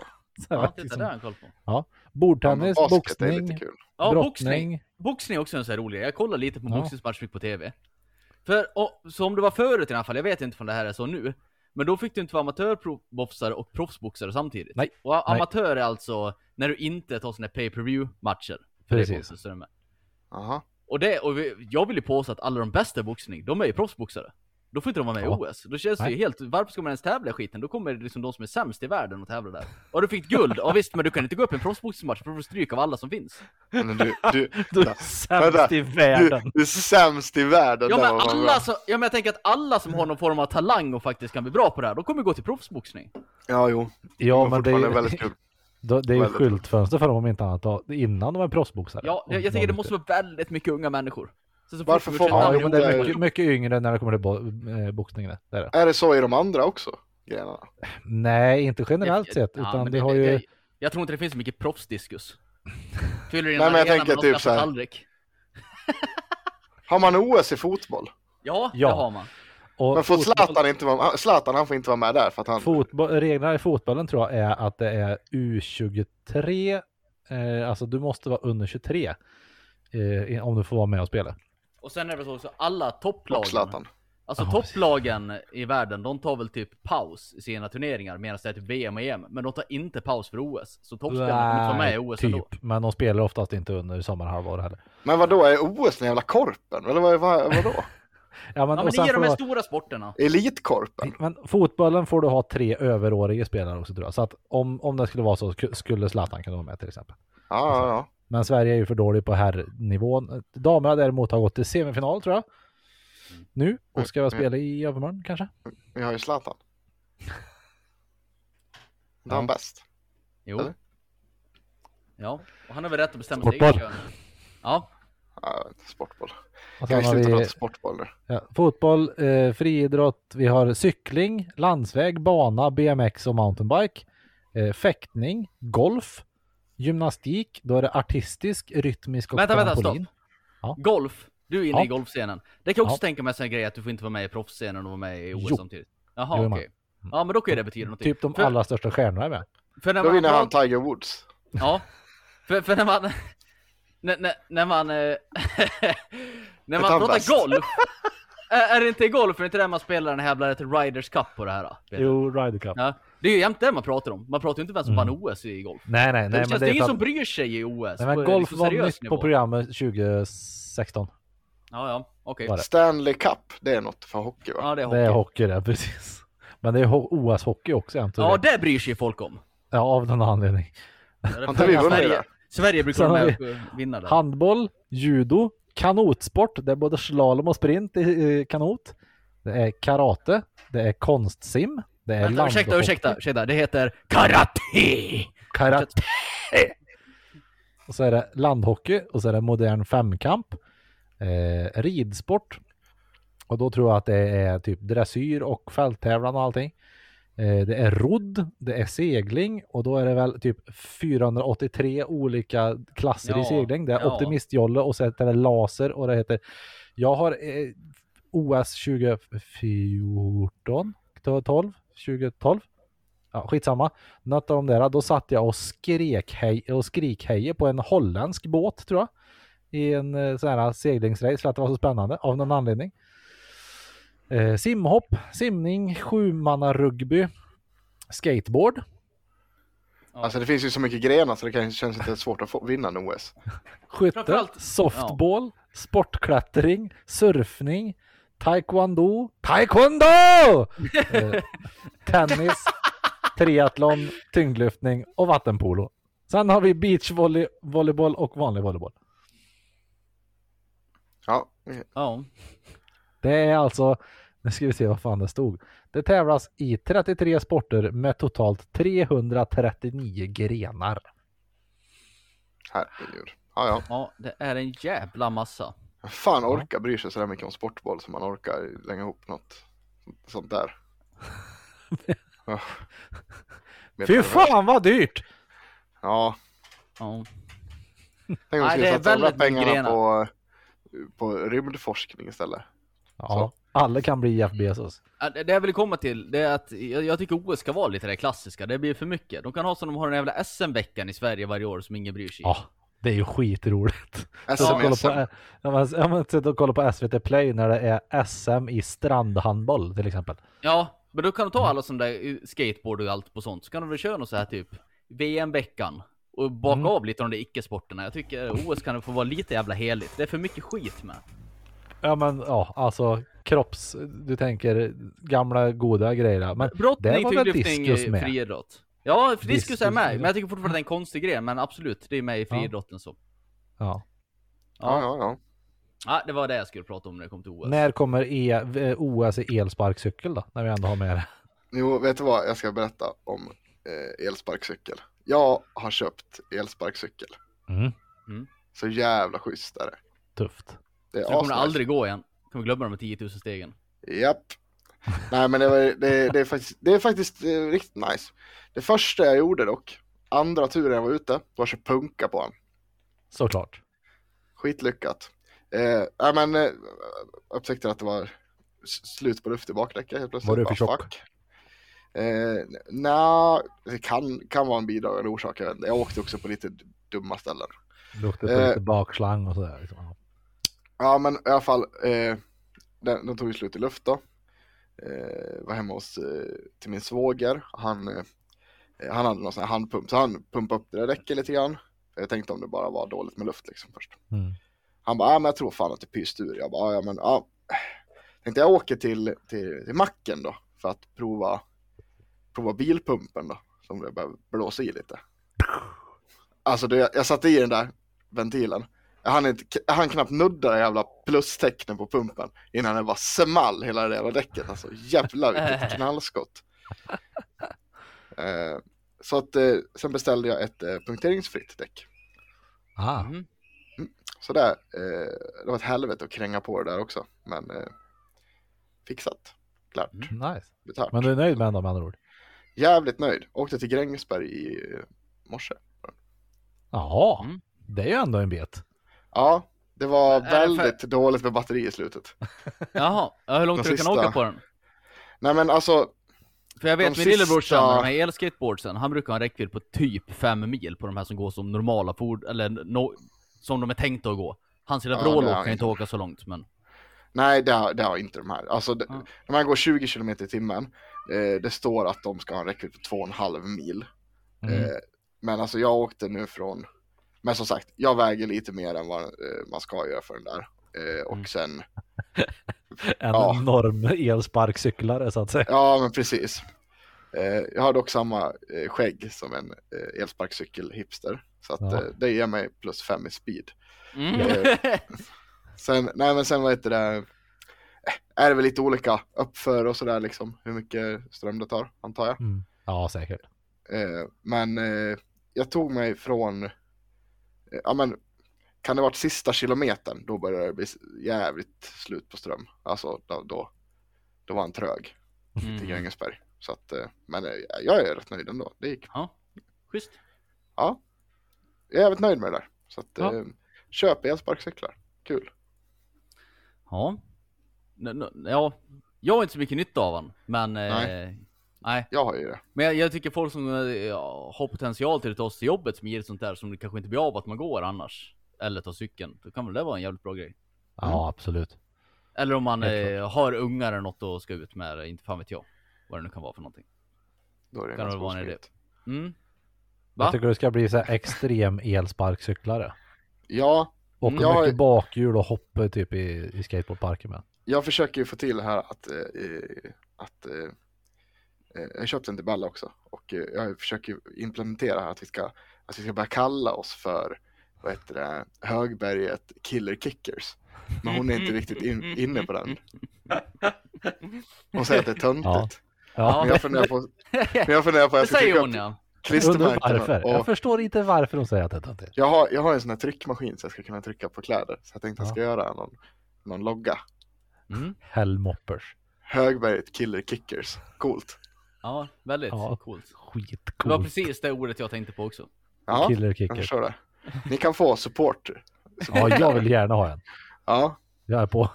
jag. Ja, titta liksom, där har jag koll på. Ja, men bordtennis, basket är boxning, lite kul. Ja, boxning. brottning. Boxning är också en sån här rolig grej. Jag kollar lite på Ja. boxningsmatch vi fick på TV. För, och, som det var förut i alla fall, jag vet inte om det här är så nu. Men då fick du inte vara amatörboxare och proffsboxare samtidigt. Nej. Och a- Nej. amatör är alltså när du inte tar såna här pay-per-view matcher. För Precis. Det är boxning, så är det med. Jaha. och det, och vi, jag vill ju påstå att alla de bästa i boxning, de är ju proffsboxare. Då får inte de vara med Ja. i OS. Då känns det ju Nej. helt, varför ska man ens tävla i skiten? Då kommer liksom de som är sämst i världen att tävla där. Och du fick guld, ja visst men du kan inte gå upp i en proffsboxningsmatch för du får stryk av alla som finns. Men du, du, Du vänta. är sämst i du, världen. du är sämst i världen. Ja där men, var man alla bra. som, ja men jag tänker att alla som har någon form av talang och faktiskt kan bli bra på det här, de kommer gå till proffsboxning. Ja, jo. Ja, var men det är, fortfarande ju- väldigt kul. då- det är ju Väldigt skyltfönster för dem om inte annat då, innan de är proffsboxare. Ja, jag, jag tänker det måste vara väldigt mycket unga människor. Så, så fort Varför de får försvinner- man- Ja, Ja, jo, men det är jo, mycket, mycket yngre när det kommer till bo, eh, boxning. där. Det är det. Är det så i de andra också? Grenarna? Nej, inte generellt Ja, sett, men utan det- det har det- ju... det- Jag tror inte det finns så mycket proffsdiskus. Fyller in Nej, en men jag arena tänker med typ Oscar så här. Tallrik. Har man OS i fotboll? Ja, Ja. det har man. Och Men får fotboll- Zlatan inte vara han- Zlatan han får inte vara med där för att han... fotboll, reglerna i fotbollen tror jag är att det är U23, eh, alltså du måste vara under 23 eh, om du får vara med och spela. Och sen är det väl så också, alla och topplagen. Zlatan. Alltså Ja, topplagen i världen, de tar väl typ paus i sina turneringar medan det är typ VM och EM. Men de tar inte paus för OS. Så toppspelarna kommer inte vara med i OS ändå. typ, men de spelar oftast inte under sommarhalvår heller. Men vad då är OS den jävla korpen? Eller vad, vad, vadå? Ja, men, Ja och men det sen är de får här du- stora sporterna. Elitkorpen? Men fotbollen får du ha tre överåriga spelare också tror jag. Så att om, om det skulle vara så sk- skulle Zlatan kunna vara med till exempel. Ja, ja, ja. Men Sverige är ju för dålig på herrnivån. Damerna däremot har gått till semifinal tror jag. Nu och ska väl spela i övermorgon kanske. Vi har ju Zlatan. Det är Ja. han bäst. Jo. Eller? Ja, och han har väl rätt att bestämma sitt Sportboll. eget kön. Ja, Ja, jag vet inte, sportboll. Och Kan sen vi har sluta vi prata sportboll nu? ja, fotboll, eh, friidrott, vi har cykling, landsväg, bana, BMX och mountainbike. Eh, fäktning, golf, gymnastik, då är det artistisk, rytmisk och Vänta, vänta, trampolin. golf. Du är inne Ja. i golfscenen. Det kan jag också Ja. tänka mig en sån här grej att du får inte vara med i proffsscenen och vara med i OS Jo. samtidigt. Jaha, Jo, okej. man. Ja, men då kan ju det betyda någonting. Typ de för, allra största stjärnorna är med. För när Då man, vinner han pratar- Tiger Woods. Ja. För, för när man... när, när, när man... eh, när man han pratar bäst? golf. Är, är det inte golf? Är det inte där man spelar den här bland annat Riders Cup på det här? vet du? Jo, Ryder Cup. Ja, det är ju jämt det man pratar om. Man pratar ju inte vem som Mm. vann OS i golf. Nej, nej, Nej, nej. det Men känns det det är är ingen för som att, bryr sig i OS. nej, men på, golf liksom, var seriös nytt nivå. på programmet 2016. Ja, ja, okej. Var det? Stanley Cup, det är något för hockey va? Ja, det är hockey. Det är hockey det, precis. Men det är ho- OS-hockey också jag ja, antar det bryr sig folk om. ja, av någon anledning. Har inte vi vunnit Sverige, det? Sverige brukar Sen vara har med och vinna där. Handboll, judo, kanotsport, det är både slalom och sprint i, i kanot. Det är karate, det är konstsim, det är Vänta, ursäkta, landhockey, ursäkta, ursäkta. Det heter karate! karate. Och så är det landhockey och så är det modern femkamp, eh, ridsport. Och då tror jag att det är typ dressyr och fälttävlan och allting. Eh, det är rodd, det är segling och då är det väl typ 483 olika klasser Ja, i segling. Det är ja. optimistjolle och så heter det laser och det heter... Jag har eh, OS 2014, 12, 2012. Ja, skitsamma. Något av de där, då satt jag och skrek hej och skrikhejade på en holländsk båt tror jag. I en eh, sån här seglingsrace för att det var så spännande av någon anledning. Eh, simhopp, simning, sjumannarugby, skateboard. Alltså det finns ju så mycket grenar så det kan, känns inte svårt att få, vinna en OS. Skytte, Framförallt- softball, sportklättring, surfning, taekwondo, taekwondo! eh, tennis, triathlon, tyngdlyftning och vattenpolo. Sen har vi beachvolley, volleyboll och vanlig volleyboll. Ja, Ja. Det är alltså, nu ska vi se vad fan det stod. Det tävlas i 33 sporter med totalt 339 grenar. herregud. Ja, ja. ja, det är en jävla massa. Fan orkar bryr sig sådär mycket om sportboll som man orkar länge ihop något sånt där. Ja. Med- Fy fan vad dyrt! Ja, Ja. tänk om vi Nej, skulle det är satsa alla väldigt mycket pengarna grenar. på, på rymdforskning istället. Ja, alla kan bli Jeff Bezos. Ja, Det det jag vill komma till, det är att jag, jag tycker OS ska vara lite det klassiska, det blir för mycket. De kan ha som de har den jävla SM-veckan i Sverige varje år som ingen bryr sig Ja, det är ju skitroligt. SMS. Ja. Kolla på, ja, men- ja, men sitta och kolla på SVT Play när det är SM i strandhandboll till exempel. Ja, men då kan de ta alla som där eh, skateboard och allt på sånt, så kan de väl köra något så här typ VM-veckan och baka Mm. av lite av de icke-sporterna. Jag tycker OS kan få vara lite jävla heligt. Det är för mycket skit med. Ja, men ja, alltså kropps... Du tänker gamla goda grejer. där. Men där Brottning, var väl tyngdlyftning, diskus eh, med? friidrott. Ja, för diskus är Diskus, med, friidrott. men jag tycker fortfarande det är en konstig grej, men absolut, det är med i friidrotten så. Ja. Ja, Ja. ja, ja. ja, det var det jag skulle prata om när det kom till OS. När kommer e, eh, OS i elsparkcykel då? När vi ändå har med det. Jo, vet du vad? Jag ska berätta om eh, elsparkcykel. Jag har köpt elsparkcykel. Mm. Så jävla schysst är det. Tufft. Det är Så det kommer det asnice. aldrig gå igen. Kommer glömma de här 10 000 stegen. Japp. Nej men det, var, det, det är faktiskt, det är faktiskt eh, riktigt nice. Det första jag gjorde dock, andra turen jag var ute, var att köra punka på han. Såklart. Skitlyckat. Eh, nej men eh, upptäckte att det var s- slut på luft i bakdäcket helt plötsligt. Var du för Bara, tjock? fuck. Eh, Nja, det kan, kan vara en bidragande orsak. Jag, vet inte. jag åkte också på lite dumma ställen. Luktar på Eh. lite bakslang och sådär. Liksom. Ja. Ja men i alla fall, eh, den, den tog ju slut i luft då. Eh, var hemma hos, eh, till min svåger. Han, eh, han hade någon sån här handpump, så han pumpade upp det där däcket lite grann. Jag tänkte om det bara var dåligt med luft liksom först. Mm. Han bara, ja men jag tror fan att det pyst ur. Jag bara, ja men ja. Tänkte jag åker till, till, till macken då för att prova, prova bilpumpen då. Som det börjar blåsa i lite. Alltså du, jag, jag satte i den där ventilen. Jag hann, inte, jag hann knappt nudda det jävla plustecknen på pumpen innan det var small hela det jävla däcket. Alltså jävlar vilket knallskott. Eh, så att eh, sen beställde jag ett eh, punkteringsfritt däck. Ah, Mhm. Så där, eh, det var ett helvete att kränga på det där också. Men eh, fixat, klart, nice. betalt. Men du är nöjd med ändå med andra ord? Jävligt nöjd. Åkte till Grängesberg i eh, morse. Jaha, Mm. det är ju ändå en bet. Ja, det var Är det för- väldigt dåligt med batteri i slutet. Jaha, ja, hur långt De tror du kan sista- åka på den? Nej men alltså, För jag vet De min sista- lillebrorsan med de här elskateboardsen, han brukar ha en räckvidd på typ 5 mil på de här som går som normala ford eller no, som de är tänkta att gå. Hans lilla Ja, vrålåk det har kan han ju inte åka så långt men... nej det har, det har inte de här. Alltså, de, Ja. de här går 20 km i timmen. Eh, det står att de ska ha en räckvidd på 2,5 mil. Mm. Eh, men alltså jag åkte nu från, men som sagt, jag väger lite mer än vad eh, man ska göra för den där. Eh, och Mm. sen En ja. enorm elsparkcyklare så att säga. Ja, men precis. Eh, jag har dock samma eh, skägg som en eh, elsparkcykel-hipster. Så att, Ja. eh, det ger mig plus fem i speed. Mm. Eh, Sen, nej men sen vad heter det, eh, är det väl lite olika uppför och sådär liksom, hur mycket ström det tar, antar jag. Mm. Ja, säkert. Eh, men eh, jag tog mig från, eh, ja men, kan det varit sista kilometern, då började det bli s- jävligt slut på ström. Alltså då, då, då var han trög till Mm. Grängesberg. Så att, eh, men eh, jag är rätt nöjd ändå. Det gick. Ja, schysst. Jag är jävligt nöjd med det där. Så att, Ja. eh, köp elsparkcyklar. Kul. Ja. N- n- ja. Jag har inte så mycket nytta av han, men... Nej. Eh, Nej. nej. Jag har ju det. Men jag, jag tycker folk som eh, ja, har potential till att ta sig till jobbet som ger ett sånt där som det kanske inte blir av att man går annars. Eller tar cykeln. Då kan väl det vara en jävligt bra grej. Ja, absolut. Eller om man Helt eh, har ungar eller något och ska ut med det, inte fan vet jag. Vad det nu kan vara för någonting. Då är det Kan ganska det vara en osmidigt. Mm. Va? Jag tycker du ska bli så här extrem elsparkcyklare. Ja, Och Mm. Jag har- mycket bakhjul och hoppa typ i, i skateboardparken med. jag försöker ju få till det här att, eh, eh, att eh, eh, jag köpte en till Balla också och eh, jag försöker ju implementera här att vi ska, att vi ska börja kalla oss för vad heter det, Högberget Killer Kickers. Men hon är inte riktigt in, inne på den. Hon säger att det är töntigt. Ja. Ja. Men jag funderar på, men jag funderar på det att jag ska säger trycka hon upp ja. Jag undrar klistermärkena. varför. Jag Och förstår inte varför de säger att det är töntigt. jag, har, jag har en sån här tryckmaskin så jag ska kunna trycka på kläder. Så jag tänkte att jag ska göra någon, någon logga. Mm. Hellmoppers. Högberget Killer Kickers. Coolt. Ja, väldigt Ja. coolt. Det var Skitcoolt. precis det ordet jag tänkte på också. Ja, Killer jag kicker. förstår det. Ni kan få support. Ja, jag vill gärna ha en. Ja, Jag är på.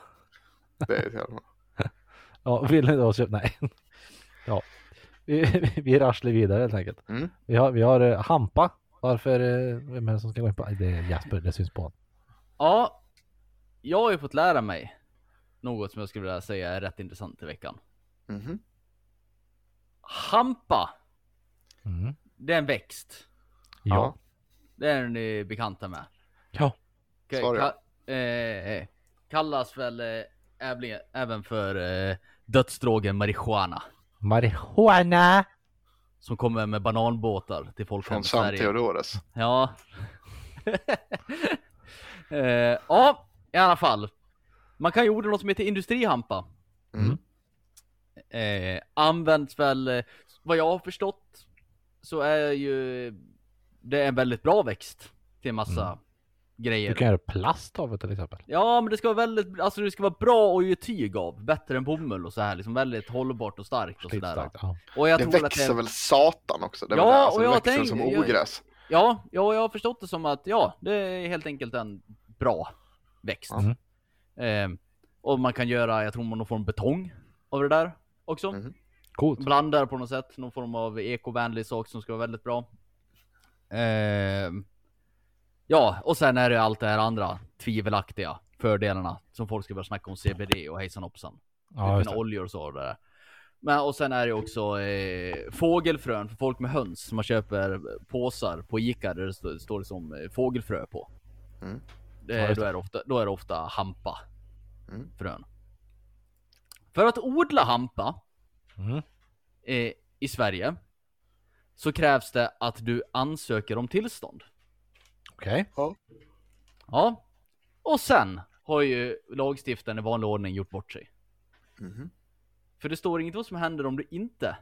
det är jävla bra. Ja, vill ni då köpa? Nej. Ja. Vi, vi rasslar vidare helt enkelt. Mm. Vi har, vi har eh, Hampa. Varför? eh, Vem är det som ska gå in på? Nej, Det är Jasper, det syns på honom. Ja, jag har ju fått lära mig något som jag skulle vilja säga är rätt intressant i veckan. Mhm. Hampa, Mm. det är en växt. Ja. Det är ni bekanta med. Ja. Okej, Sorry. ka- eh, eh, kallas väl eh, ävle- även för eh, dödsdrogen marijuana. Marijuana. Som kommer med bananbåtar till folk här Från i Sant Sverige. Theodores. Ja. eh, ja, i alla fall. Man kan ju odla något som heter industrihampa. Mm. Eh, används väl, eh, vad jag har förstått, så är ju det är en väldigt bra växt till en massa Mm. grejer. Du kan göra plast av det till exempel. Ja, men det ska vara väldigt, alltså det ska vara bra att ge tyg av. Bättre än bomull och så här, liksom väldigt hållbart och starkt och sådär. Slitstarkt. Ja. Och jag Typ Det tror att växer det, väl satan också? Det, är Ja, väl det. Alltså, och det jag växer tänker- som jag- ogräs. ja, ja, jag har förstått det som att ja, det är helt enkelt en bra växt. Mm. Ehm, och man kan göra, jag tror man någon form av betong av det där också. Mm. Coolt. blandar på något sätt, någon form av ekovänlig sak som ska vara väldigt bra. Ehm, ja, och sen är det allt det här andra tvivelaktiga fördelarna som folk ska börja snacka om CBD och hejsan hoppsan. Ja, just Fina det. oljor Typ och så och det där. Men och sen är det också eh, fågelfrön för folk med höns. Man köper påsar på Ica där det står, står det som eh, fågelfrö på. Mm. Eh, Ja, just då, är det ofta, då är det ofta hampa. Mm. Frön. För att odla hampa Mm. eh, i Sverige så krävs det att du ansöker om tillstånd. Okej. Ja. Och sen har ju lagstiftaren i vanlig ordning gjort bort sig. Mhm. För det står inget vad som händer om du inte...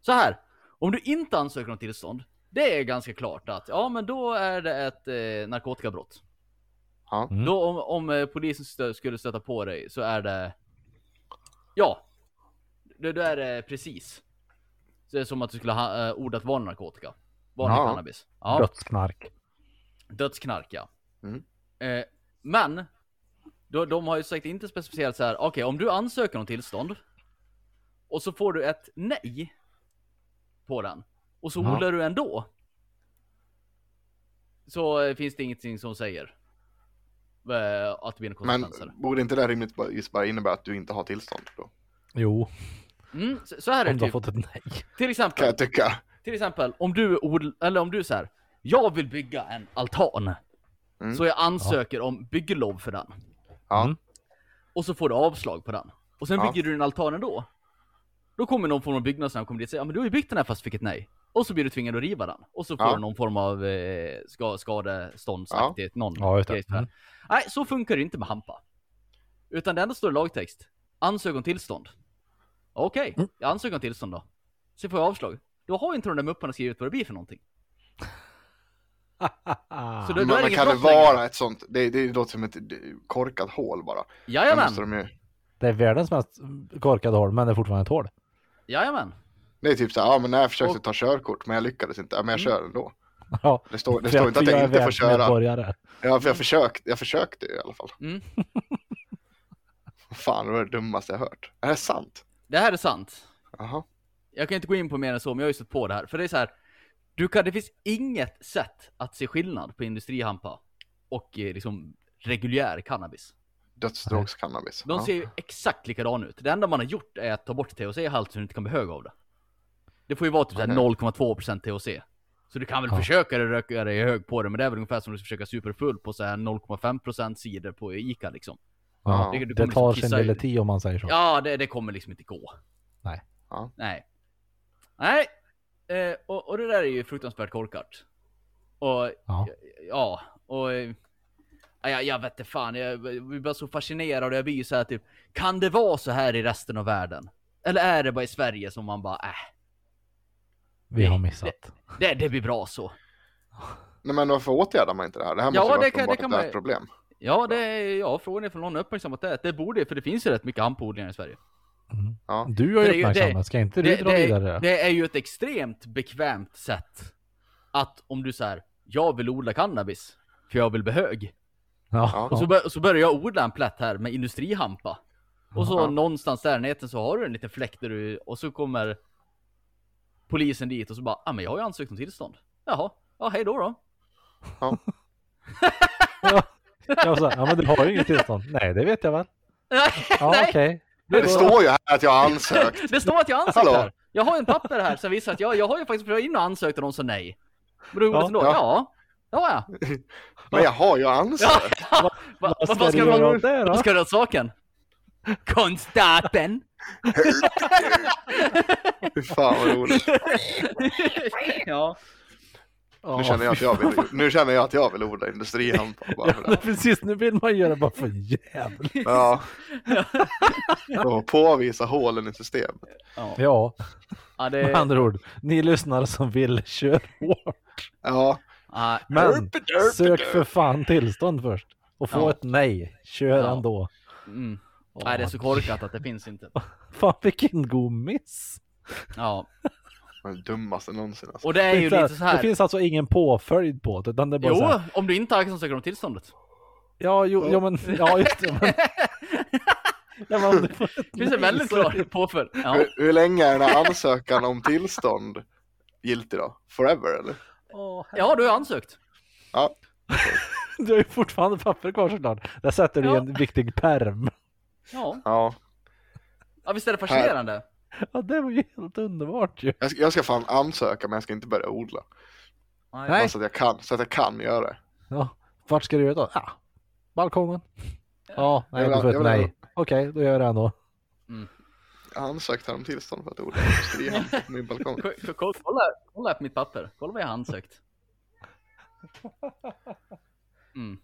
Så här, om du inte ansöker om tillstånd, det är ganska klart att ja, men då är det ett eh, narkotikabrott. Ja. Mm. Då om, om eh, polisen stö- skulle stöta på dig så är det... Ja. Det, då är det precis. Så det är som att du skulle ha eh, ordat vanlig narkotika. Vanlig Ja. cannabis. Ja. Dödsknark. Dödsknark ja. Mm. Eh, men, de, de har ju sagt inte specificerat så här. okej om du ansöker om tillstånd och så får du ett nej på den och så Ja. odlar du ändå. Så eh, finns det ingenting som säger eh, att det blir några Men konsekvenser. borde inte det här rimligtvis bara innebära att du inte har tillstånd? Då? Jo, Mm, så, så här är om du det har typ. fått ett nej. Till Kan exempel, jag tycka. till exempel om du odl- eller om du så här. jag vill bygga en altan. Mm. Så jag ansöker om bygglov för den. Ja. Mm. och så får du avslag på den. Och sen Ja. bygger du en altan ändå. Då kommer någon form av byggnadsnämnd kommer dit och säger ja men du har ju byggt den här fast du fick ett nej. Och så blir du tvingad att riva den. Och så får Ja. du någon form av eh, ska, skadeståndsaktigt, någon Ja, just det. grej för det här. Mm. Nej, så funkar det inte med hampa. Utan det enda står i lagtext. Ansök om tillstånd. Okej, Mm. jag ansöker om tillstånd då. Så får jag avslag. Då har ju inte de där mupparna skrivit vad det blir för någonting. Mm. Så då, Men, då är det men inget kan det brott längre. vara ett sånt? Det, det låter som ett korkat hål bara. Där Jajamän, måste de ju... Det är världens mest korkade hål, men det är fortfarande ett hål. jajamän. Det är typ så här, ja men när jag försökte Och- ta körkort men jag lyckades inte, ja, men jag Mm. kör ändå. Ja, Det står, det för står inte att för jag inte får köra. världsmedborgare. Ja, för jag, försökte, jag försökte ju i alla fall. Mm. Fan, det var det dummaste jag hört. Är det sant? Det här är sant. Jaha. jag kan inte gå in på mer än så, men jag har ju stött på det här. För det är så här, du kan, det finns inget sätt att se skillnad på industrihampa och eh, liksom reguljär cannabis. Dödsdrogscannabis. De Ja. ser ju exakt likadan ut. Det enda man har gjort är att ta bort THC-halt så du inte kan bli hög av det. Det får ju vara typ så här Okej. 0,2% THC. Så du kan väl Ja. försöka röka dig hög på det, men det är väl ungefär som du ska försöka superfull på så här 0,5% cider på Ica liksom. Ja. Du- du Det kommer tar liksom sin kissa i- lilla tid om man säger så. Ja, det, det kommer liksom inte gå. Nej. Ja. Nej. Nej. Eh, och, och det där är ju fruktansvärt korkat. Och Ja. ja, och... eh, Ja, jag, jag vet inte fan, jag blir bara så fascinerad och jag blir ju så här typ, kan det vara så här i resten av världen? Eller är det bara i Sverige som man bara, äh, Vi har missat. det, det blir bra så. Nej, men varför åtgärdar man inte det här? Det här Ja, måste ju vara det kan- uppenbart det kan att det är man- ett problem. Ja, det är, ja, frågan är för någon har uppmärksammat det. Det borde ju, för det finns ju rätt mycket hamnpodlingar i Sverige. Mm. Ja. Du har Det är ju ju- det- uppmärksammat, ska inte du det, dra det, vidare det? det är ju ett extremt bekvämt sätt att om du säger jag vill odla cannabis för jag vill bli hög. Ja. Och så, bör, så börjar jag odla en plätt här med industrihampa. Och så Ja. någonstans där i närheten så har du en liten fläkt där du, och så kommer polisen dit och så bara, ah, men jag har ju ansökt om tillstånd. Jaha, ja hej då då. Jag sa, ja men du har ju inget tillstånd. Nej, det vet jag väl. Ja, Nej. okej. Det, står ju här att jag har ansökt. Det står att jag har ansökt Hallå? här. Jag har en papper här som visar att jag, jag har ju faktiskt prövat in och ansökt och de sa nej. Men då gjorde Ja. ja, ändå, ja. Ja, ja. Men jag har ju ja, ansökt. ja. Va, Vad vad ska ska du man göra åt det Vad då? ska du åt saken? Konstapeln! Fy fan vad roligt. ja. Ja, Nu känner jag att jag vill, nu känner jag att jag vill odla industrihampa. Bara för det Ja, här. precis, nu vill man göra bara för jävligt. Ja. Och påvisa hålen i systemet. ja. Eh. Ja, ja med det... andra ord. Ni lyssnare som vill, kör hårt. Ja. Ja, Men Derp, derp, sök derp. för fan tillstånd först. Och få Ja. ett nej. Kör Ja. ändå. mm. Nej, det är så korkat att det finns inte. Fan vilken god miss. Ja. Den dummaste någonsin alltså. Och det är ju Det är lite så Det här. finns alltså ingen påföljd på det, utan det är bara så Jo, här, om du inte ansöker om tillståndet. Ja, jo, ja, men, ja just det. Men... Ja, men om du får ett Det finns en nej, väldigt så är det- klar påföljd. Ja. Hur, hur länge är den här ansökan om tillstånd giltig då? Forever eller? Åh, herre- ja, du har ansökt. Ja. Du har ju fortfarande papper kvar såklart. Där sätter du i Ja. en viktig perm. Ja. ja. ja, visst är det fascinerande? Ja, det var ju helt underbart ju. Jag ska, jag ska fan ansöka men jag ska inte börja odla. Nej. Bara så att jag kan, så att jag kan göra det. Ja. Vart ska du göra då? Ja. Balkongen. Ja, nej, Jag du vill- får jag ett vill- nej. Okej, då gör jag det ändå. Jag ansökte om tillstånd för att odla industrihampa på min balkong. K- k- Kolla, kolla på mitt papper. Kolla vad jag har ansökt. Mm.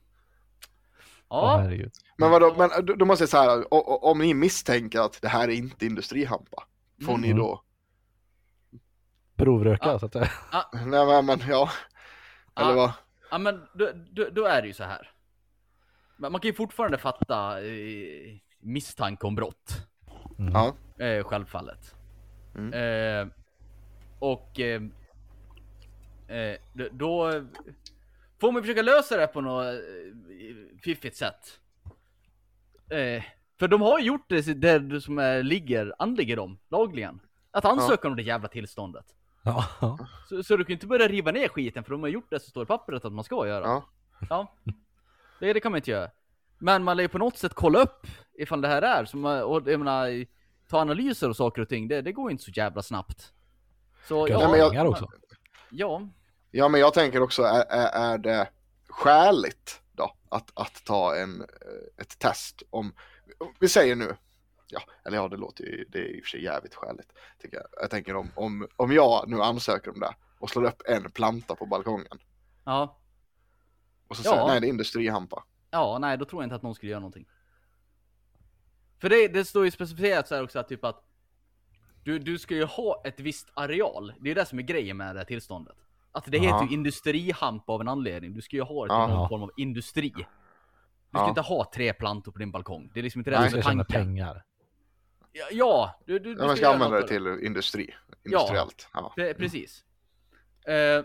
Åh, Ja, herregud. Men vadå, men då- då måste jag säga här, o- o- om ni misstänker att det här är inte industrihampa, får ni Mm. då? Provröka Ja. så att det... Nej men, men ja, eller Ja. vad? ja men då, då, då är det ju så här. Men man kan ju fortfarande fatta eh, misstanke om brott. Mm. Ja. Eh, självfallet. Mm. Eh, och eh, eh, d- då får man försöka lösa det på något eh, fiffigt sätt. Eh, för de har ju gjort det så- där som är, ligger, anligger dem lagligen. Att ansöka om det jävla tillståndet. Ja. Så, så du kan ju inte börja riva ner skiten för de har gjort det som står i pappret att man ska göra. Ja. Ja. Det, det kan man inte göra. Men man lär ju på något sätt kolla upp ifall det här är. Som, och jag menar, ta analyser och saker och ting. Det, det går ju inte så jävla snabbt. Så Ska ja, Nej, men jag- jag... också. ja. Ja, men jag tänker också, är, är, är det skäligt då att, att ta en, eh, ett test om, vi säger nu, ja, eller ja, det låter ju, det är i och för sig jävligt skäligt. Tycker jag. jag tänker om, om, om jag nu ansöker om det och slår upp en planta på balkongen Ja. och så Ja. säger jag, nej, det är industrihampa. Ja, nej, då tror jag inte att någon skulle göra någonting. För det, det står ju specificerat så här också att typ att du, du ska ju ha ett visst areal. Det är ju det som är grejen med det här tillståndet. Att det Ja. heter ju industrihampa av en anledning. Du ska ju ha det till Ja. någon form av industri. Du ska Ja. inte ha tre plantor på din balkong. Det är liksom inte Nej, det Du som ska är tjäna tanken. pengar. Mm. Ja, Ja, du, du, du Ja, man ska göra använda något det av det. till industri, industriellt. Ja. Pre- Precis. Eh,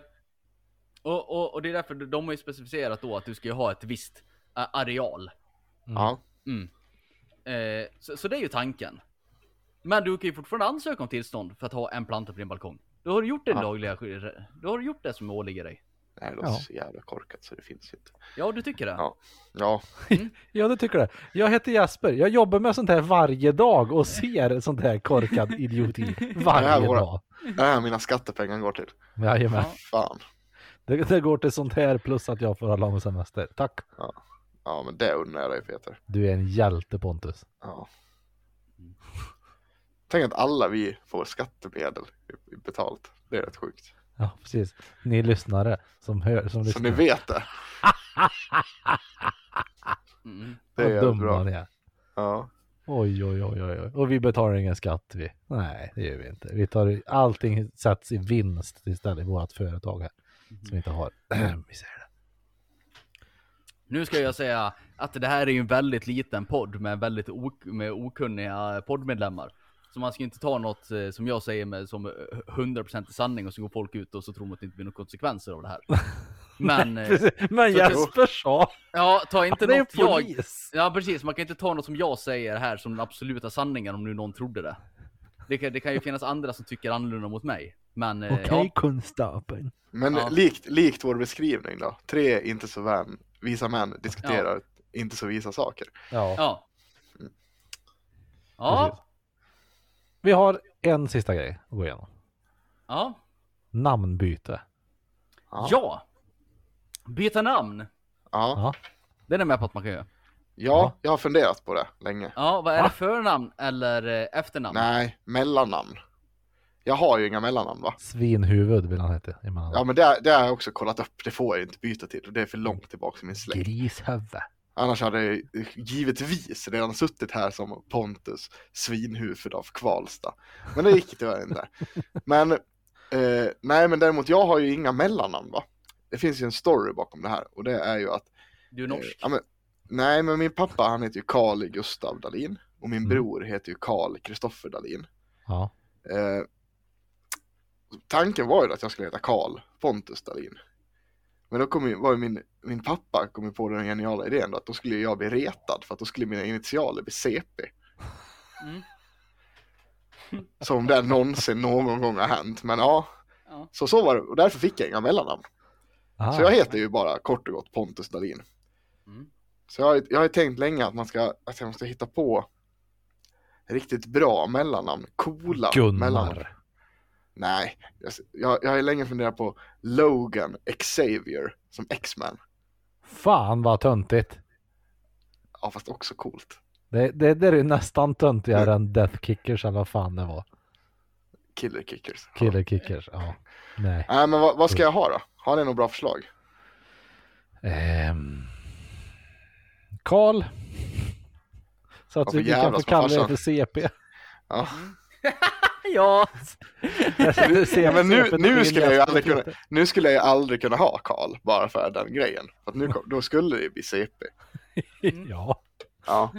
och, och, och det är därför de- de har ju specificerat då att du ska ju ha ett visst eh, areal. Ja. Mm. Eh, så, så det är ju tanken. Men du kan ju fortfarande ansöka om tillstånd för att ha en planta på din balkong. Då har du gjort det Ja. lagliga sk- Då har du gjort det som åligger dig. Det här låter Ja. så jävla korkat så det finns ju inte. Ja, du tycker det? Ja. Ja, Ja, det tycker jag. Jag heter Jasper. Jag jobbar med sånt här varje dag och ser sånt här korkad idioti Det här varje våra- dag. det här mina äh, skattepengar går till. Jajamän. Ja. Fan. Det, det går till sånt här plus att jag får ha lång semester. Tack. Ja, men det undrar jag dig Peter. Du är en hjälte Pontus. Ja. Tänk att alla vi får skattemedel i- betalt. Det är rätt sjukt. Ja, precis. Ni lyssnare som hör, som Så ni lyssnar. vet det. Mm. Det är Vad jävligt dumma bra. ni är. Ja. Oj, oj, oj, oj, oj. Och vi betalar ingen skatt vi. Nej, det gör vi inte. Vi tar, allting sätts i vinst istället i vårt företag här. Som inte har misär. Nu ska jag säga att det här är ju en väldigt liten podd med väldigt ok- med okunniga poddmedlemmar. Så man ska inte ta något eh, som jag säger med som eh, 100% sanning och så går folk ut och så tror man att det inte blir några konsekvenser av det här. Men eh, Men Så- Jesper sa, ja, ta inte han är ju något jag... polis. Ja precis, man kan inte ta något som jag säger här som den absoluta sanningen om nu någon trodde det. Det kan, det kan ju finnas andra som tycker annorlunda mot mig. Men eh, ja, konstapeln. Men Ja. likt, likt vår beskrivning då. Tre inte så vän, visa män diskuterar inte så visa saker. Ja. ja. Ja, Precis. Vi har en sista grej att gå igenom. ja, Namnbyte. Ja. ja. Byta namn. Ja. Ja. Den är med på att man kan göra. ja, jag har funderat på det länge. Ja, vad är Va? det förnamn eller eh, efternamn? Nej, mellannamn. Jag har ju inga mellannamn va? Svinhuvud vill han heta. emellanåt. Ja, men det, det har jag också kollat upp. Det får jag inte byta till och det är för långt tillbaka i min släkt. Grishövud. Annars hade jag ju givetvis redan suttit här som Pontus svinhuvud av Kvalsta. Men det gick tyvärr inte. Men eh, nej, men däremot jag har ju inga mellannamn va? Det finns ju en story bakom det här och det är ju att Du är Eh, norsk. Ja, men, nej, men min pappa han heter ju Karl Gustav Dahlin och min Mm. bror heter ju Karl Kristoffer Dahlin. Ja. Eh, tanken var ju att jag skulle heta Karl Pontus Dahlin. Men då kom ju, var ju min, min pappa kom ju på den geniala idén då, att då skulle jag bli retad för att då skulle mina initialer bli CP. Mm. Som om det någonsin någon gång har hänt. Men ja, Ja. så så var det. Och därför fick jag inga mellannamn. Ah, Så jag heter ju bara kort och gott Pontus Dahlin. Mm. Så jag, har- jag har ju tänkt länge att man ska, att man ska hitta på riktigt bra mellannamn, coola mellannamn. Gunnar. Nej, jag, s- jag, jag har ju länge funderat på Logan Xavier som X-Man. Fan vad töntigt. Ja, fast också coolt. Det, det, det är ju nästan Mm. töntigare än Death Kickers eller vad fan det var. Killer Kickers. Killer Kickers, ja. Nej. Nej, men vad, vad ska jag ha då? Har ni några bra förslag? Ehm. Karl. Så att Varför vi, vi kan jävlas få med kalla dig farsan? för CP. Ja. ja. Ja, men nu, CP nu, till skulle jag ju nästa aldrig kunna, Peter. nu skulle jag ju aldrig kunna ha Karl bara för den grejen. För att nu, kom- då skulle det bli CP. Ja. Ja.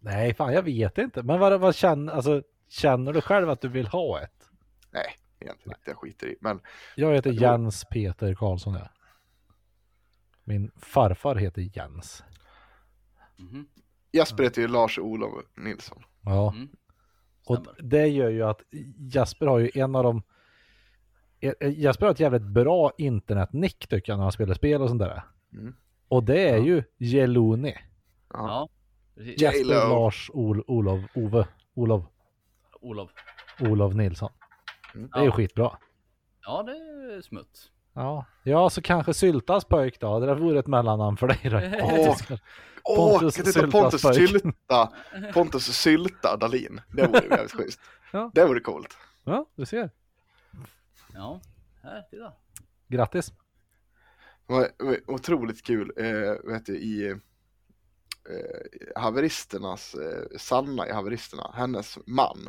Nej, fan jag vet inte. Men vad, vad känner, alltså, känner du själv att du vill ha ett? Nej, egentligen inte. Jag skiter i. Men Jag heter Jo. Jens Peter Karlsson. Ja. Min farfar heter Jens. Mhm. Jesper heter ju Lars-Olof Nilsson. Ja. Mm. Och Stämmer. det gör ju att Jasper har ju en av de... Eh, eh, Jasper har ett jävligt bra internetnick tycker jag när han spelar spel och sånt där. Mm. Och det är ju Jeloni. Ja. Ja. Precis. Ja. Jasper J-Lo. Lars Ol, Olof Ove Olof Olof. Olof Nilsson. Mm. Det är ju Ja. skitbra. Ja, det är smutt. Ja. ja, så kanske Syltas pojk då. Det där vore ett mellannamn för dig. då. Åh. Åh, Pontus kan du ta Syltas Pontus pojk. Sylta, Pontus Sylta Dahlin. Det vore ju jävligt schysst. Ja. Det vore coolt. Ja, du ser. Ja. Här, titta. Grattis. Det var det var otroligt kul eh, vet du, i eh, haveristernas, eh, Sanna i haveristerna, hennes man,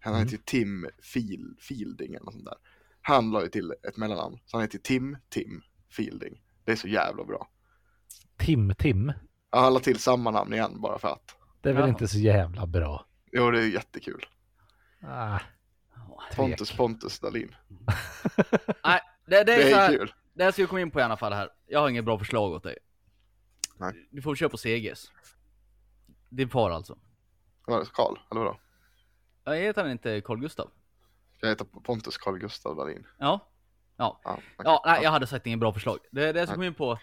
han Mm. heter ju Tim Fil, Fielding eller något sånt där. Han la ju till ett mellannamn, så han heter Tim Tim Fielding. Det är så jävla bra. Tim Tim. Ja, Han la till samma namn igen bara för att. Det är väl Jaha. inte så jävla bra. Jo, det är jättekul. Ah, Ja. Pontus Pontus Dahlin. Nej, det, det är, Det så är här, kul. det här ska vi komma in på i alla fall här. Jag har inget bra förslag åt dig. Nej. Du får köra på CGs. Din far alltså. Vad var det? Karl, eller vadå? Jag heter han inte Carl Gustav? Jag heter Pontus Carl Gustav Dahlin. Ja. Ja. Ja, okej. Ja, nej, jag hade sagt ingen bra förslag. Det är det jag ska komma in på.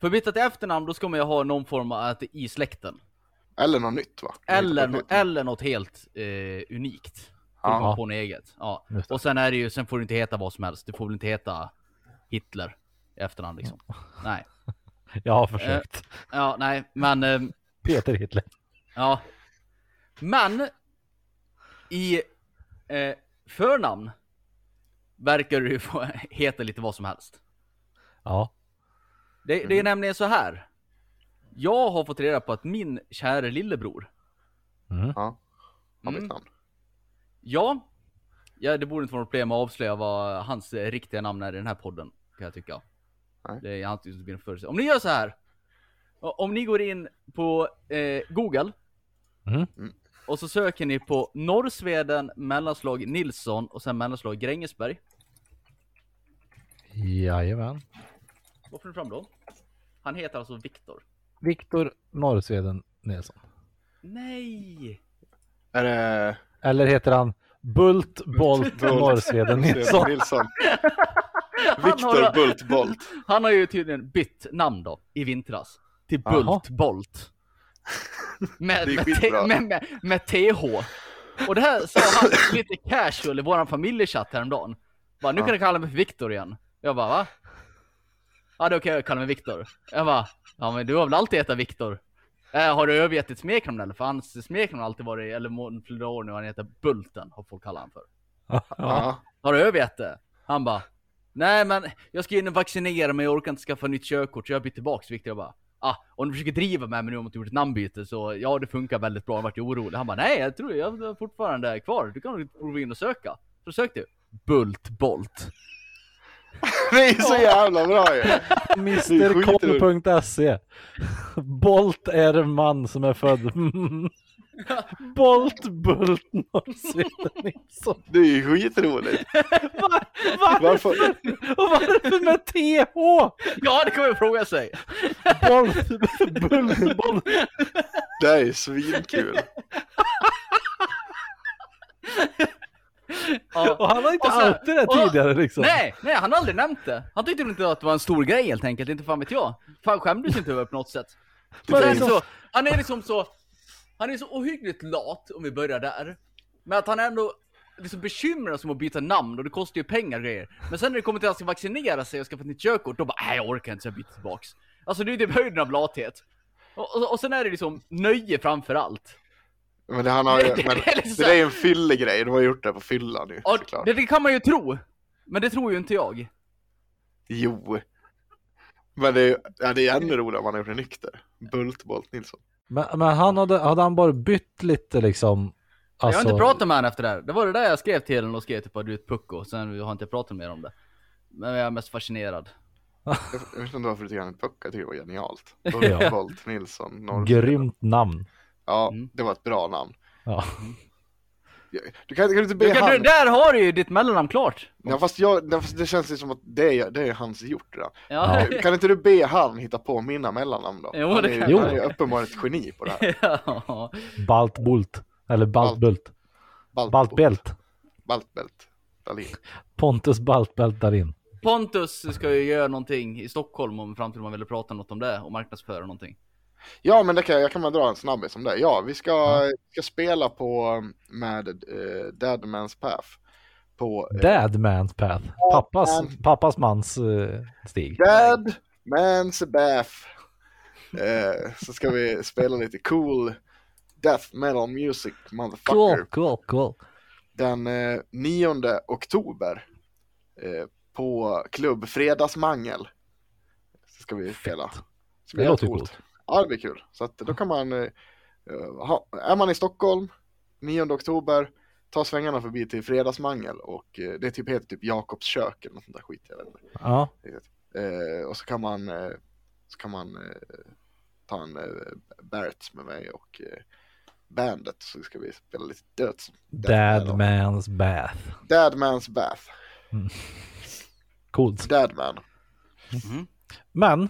För byta till efternamn, då ska man ju ha någon form av att det är i släkten. Eller något nytt va? Eller, Hittar på ett nytt. eller något helt eh, unikt. Ja. Ja. På något eget. Ja. Just det. Och sen är det ju, sen får du inte heta vad som helst. Du får väl inte heta Hitler. i efterhand liksom. Nej. Jag har försökt. Ja, nej, men... ehm, Peter Hitler. Ja. Men i eh, förnamn verkar du ju få heta lite vad som helst. Ja. Det, det är nämligen så här. Jag har fått reda på att min kära lillebror, Mm. Ja. Har Mm. mitt namn. ja, ja, det borde inte vara något problem att avslöja vad hans eh, riktiga namn är i den här podden, kan jag tycka. Nej. Det är alltid en förutsättning. Om ni gör så här. o- Om ni går in på eh, Google Mm. och så söker ni på Norrsveden, mellanslag Nilsson och sen mellanslag Grängesberg. Jajamän. Vad får ni fram då? Han heter alltså Viktor. Viktor Norrsveden Nilsson. Nej! Är det Eller heter han Bult Bolt Bult. Norrsveden Nilsson? Stefan Nilsson? Han Viktor har, Bult Bolt. han har ju tydligen bytt namn då, i vintras. Till Bult Jaha. Bolt. Med, Det är med, skitbra. te- med, med, med TH. Och det här sa han lite casual i våran familjechatt häromdagen. Bara, nu Ja. kan du kalla mig för Viktor igen. Jag bara, va? Ja, då kan jag kalla mig Viktor. Jag bara, ja men du har väl alltid hetat Viktor? Äh, har du övergett ditt smeknamn eller? För hans smeknamn har alltid varit, eller må- flera år nu, han heter Bulten, har folk kallat honom för. Ja. Ja. Har du övergett det? Han bara, nej men jag ska in och vaccinera mig, jag orkar inte skaffa nytt körkort så jag byter tillbaks. Viktor jag bara, ah, om du försöker driva med mig nu om att du gjort ett namnbyte så ja det funkar väldigt bra, jag vart ju orolig. Han bara, nej jag tror jag är fortfarande kvar, du kan nog prova in och söka. Så sökte du. Bult Bolt. Det är så jävla bra ju. Mrkoll.se E. Bolt är en man som är född. Bolt Bult Norrsveden Nilsson. Det är ju skitroligt. Var, varför? Varför? Och varför med TH? Ja det kommer jag fråga sig. Bolt, Bult Bolt. Det här är svinkul. Ja. Och han har inte Och så- alltid det och- tidigare liksom. Nej, nej han har aldrig nämnt det. Han tyckte väl inte att det var en stor grej helt enkelt, inte fan vet jag. Fan skämdes inte över det på något sätt. Det Men är han, är inte- så, han är liksom så, han är så ohyggligt lat om vi börjar där. Men att han ändå liksom bekymrar sig om att byta namn och det kostar ju pengar och grejer. Men sen när det kommer till att han ska vaccinera sig och skaffa ett nytt körkort, då bara nej jag orkar inte så jag byter tillbaks. Alltså det är ju typ höjden av lathet. Och, och, och sen är det liksom nöje framför allt. Men det, han har ju, Det- det- men, det är liksom det där är ju en fyllig grej. De har gjort det på fyllan ju Ja, såklart. det, det kan man ju tro. Men det tror ju inte jag. Jo. Men det är, ja, det är ännu roligare om man har gjort det nykter. Bult Bolt Nilsson. Men, men han hade, hade han bara bytt lite liksom. Jag har alltså- inte pratat med honom efter det här. Det var det där jag skrev till honom och skrev typ att du är ett pucko. Sen har jag inte pratat mer om det. Men jag är mest fascinerad. Jag jag vet inte varför du tycker han är puck. Jag tycker det var genialt. Ja. Bult Bolt Nilsson. Norr. Grymt namn. Ja, Mm. det var ett bra namn. Ja. Du kan, kan du inte be Du, kan- han... du, där har du ju ditt mellannamn klart! Ja, fast jag, ja, fast det känns ju som att det är, det är hans gjort redan. Ja. Kan inte du be han hitta på mina mellannamn då? Jo, han det är, ju- kan jag. han är ju uppenbarligen ett geni på det här. Ja. Baltbult. Eller Baltbult. Baltbält. Baltbält. Dahlin. Pontus Baltbält Dahlin. Pontus ska ju göra någonting i Stockholm om framtiden man ville prata något om det och marknadsföra någonting. Ja, men det kan, jag kan väl dra en snabbis om det. Ja, vi ska, ska spela på um, med eh, Dead Man's Path. På eh, Dad man's path. Pappas, pappas mans eh, stig. Dead Man's Path. Eh, så ska vi spela lite cool death metal music, motherfucker. Cool, cool, cool. Den eh, 9 oktober eh, på klubb Fredagsmangel. Så ska vi spela. Ska Det bli låter ju coolt. coolt. Ja, det blir kul. Så att då kan man, eh, ha, är man i Stockholm 9 oktober, ta svängarna förbi till Fredagsmangel och eh, det är typ, heter typ Jakobs kök eller något sånt där skit. Jag vet inte. Ja, Eh, och så kan man, eh, så kan man eh, ta en eh, Barrett med mig och eh, bandet så ska vi spela lite döds. dad man's bath. Dadman's Bath. Coolt. Dadman. Men,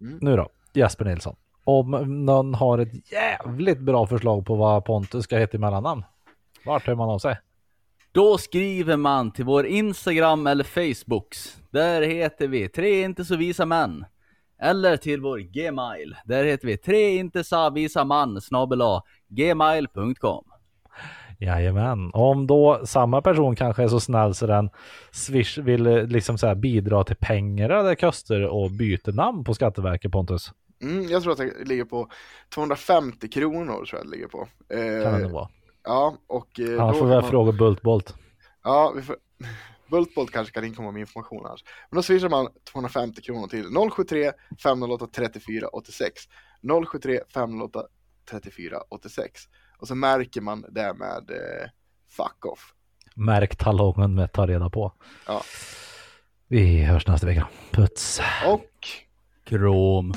Mm. nu då. Jesper Nilsson. Om någon har ett jävligt bra förslag på vad Pontus ska heta i mellannamn. Vart hör man av sig? Då skriver man till vår Instagram eller Facebooks. Där heter vi Tre inte så visa män. Eller till vår Gmail. Där heter vi Tre inte så visa man snabel-a gmail.com. Jajamän. Om då samma person kanske är så snäll så den swish vill eh, liksom så här bidra till pengar eller koster och byter namn på Skatteverket Pontus. Mm, jag tror att det ligger på 250 kronor tror jag det ligger på. Eh, Kan det nog vara. Ja, och eh, Annars får vi då kan väl man- fråga Bultbolt. Ja, vi får... Bultbolt kanske kan inkomma med information annars. Men då swishar man 250 kronor till 073 508 34 86. 073 508 34 86. Och så märker man det med eh, fuck off. Märk talongen med ta reda på. Ja. Vi hörs nästa vecka. Puts. Och Krom.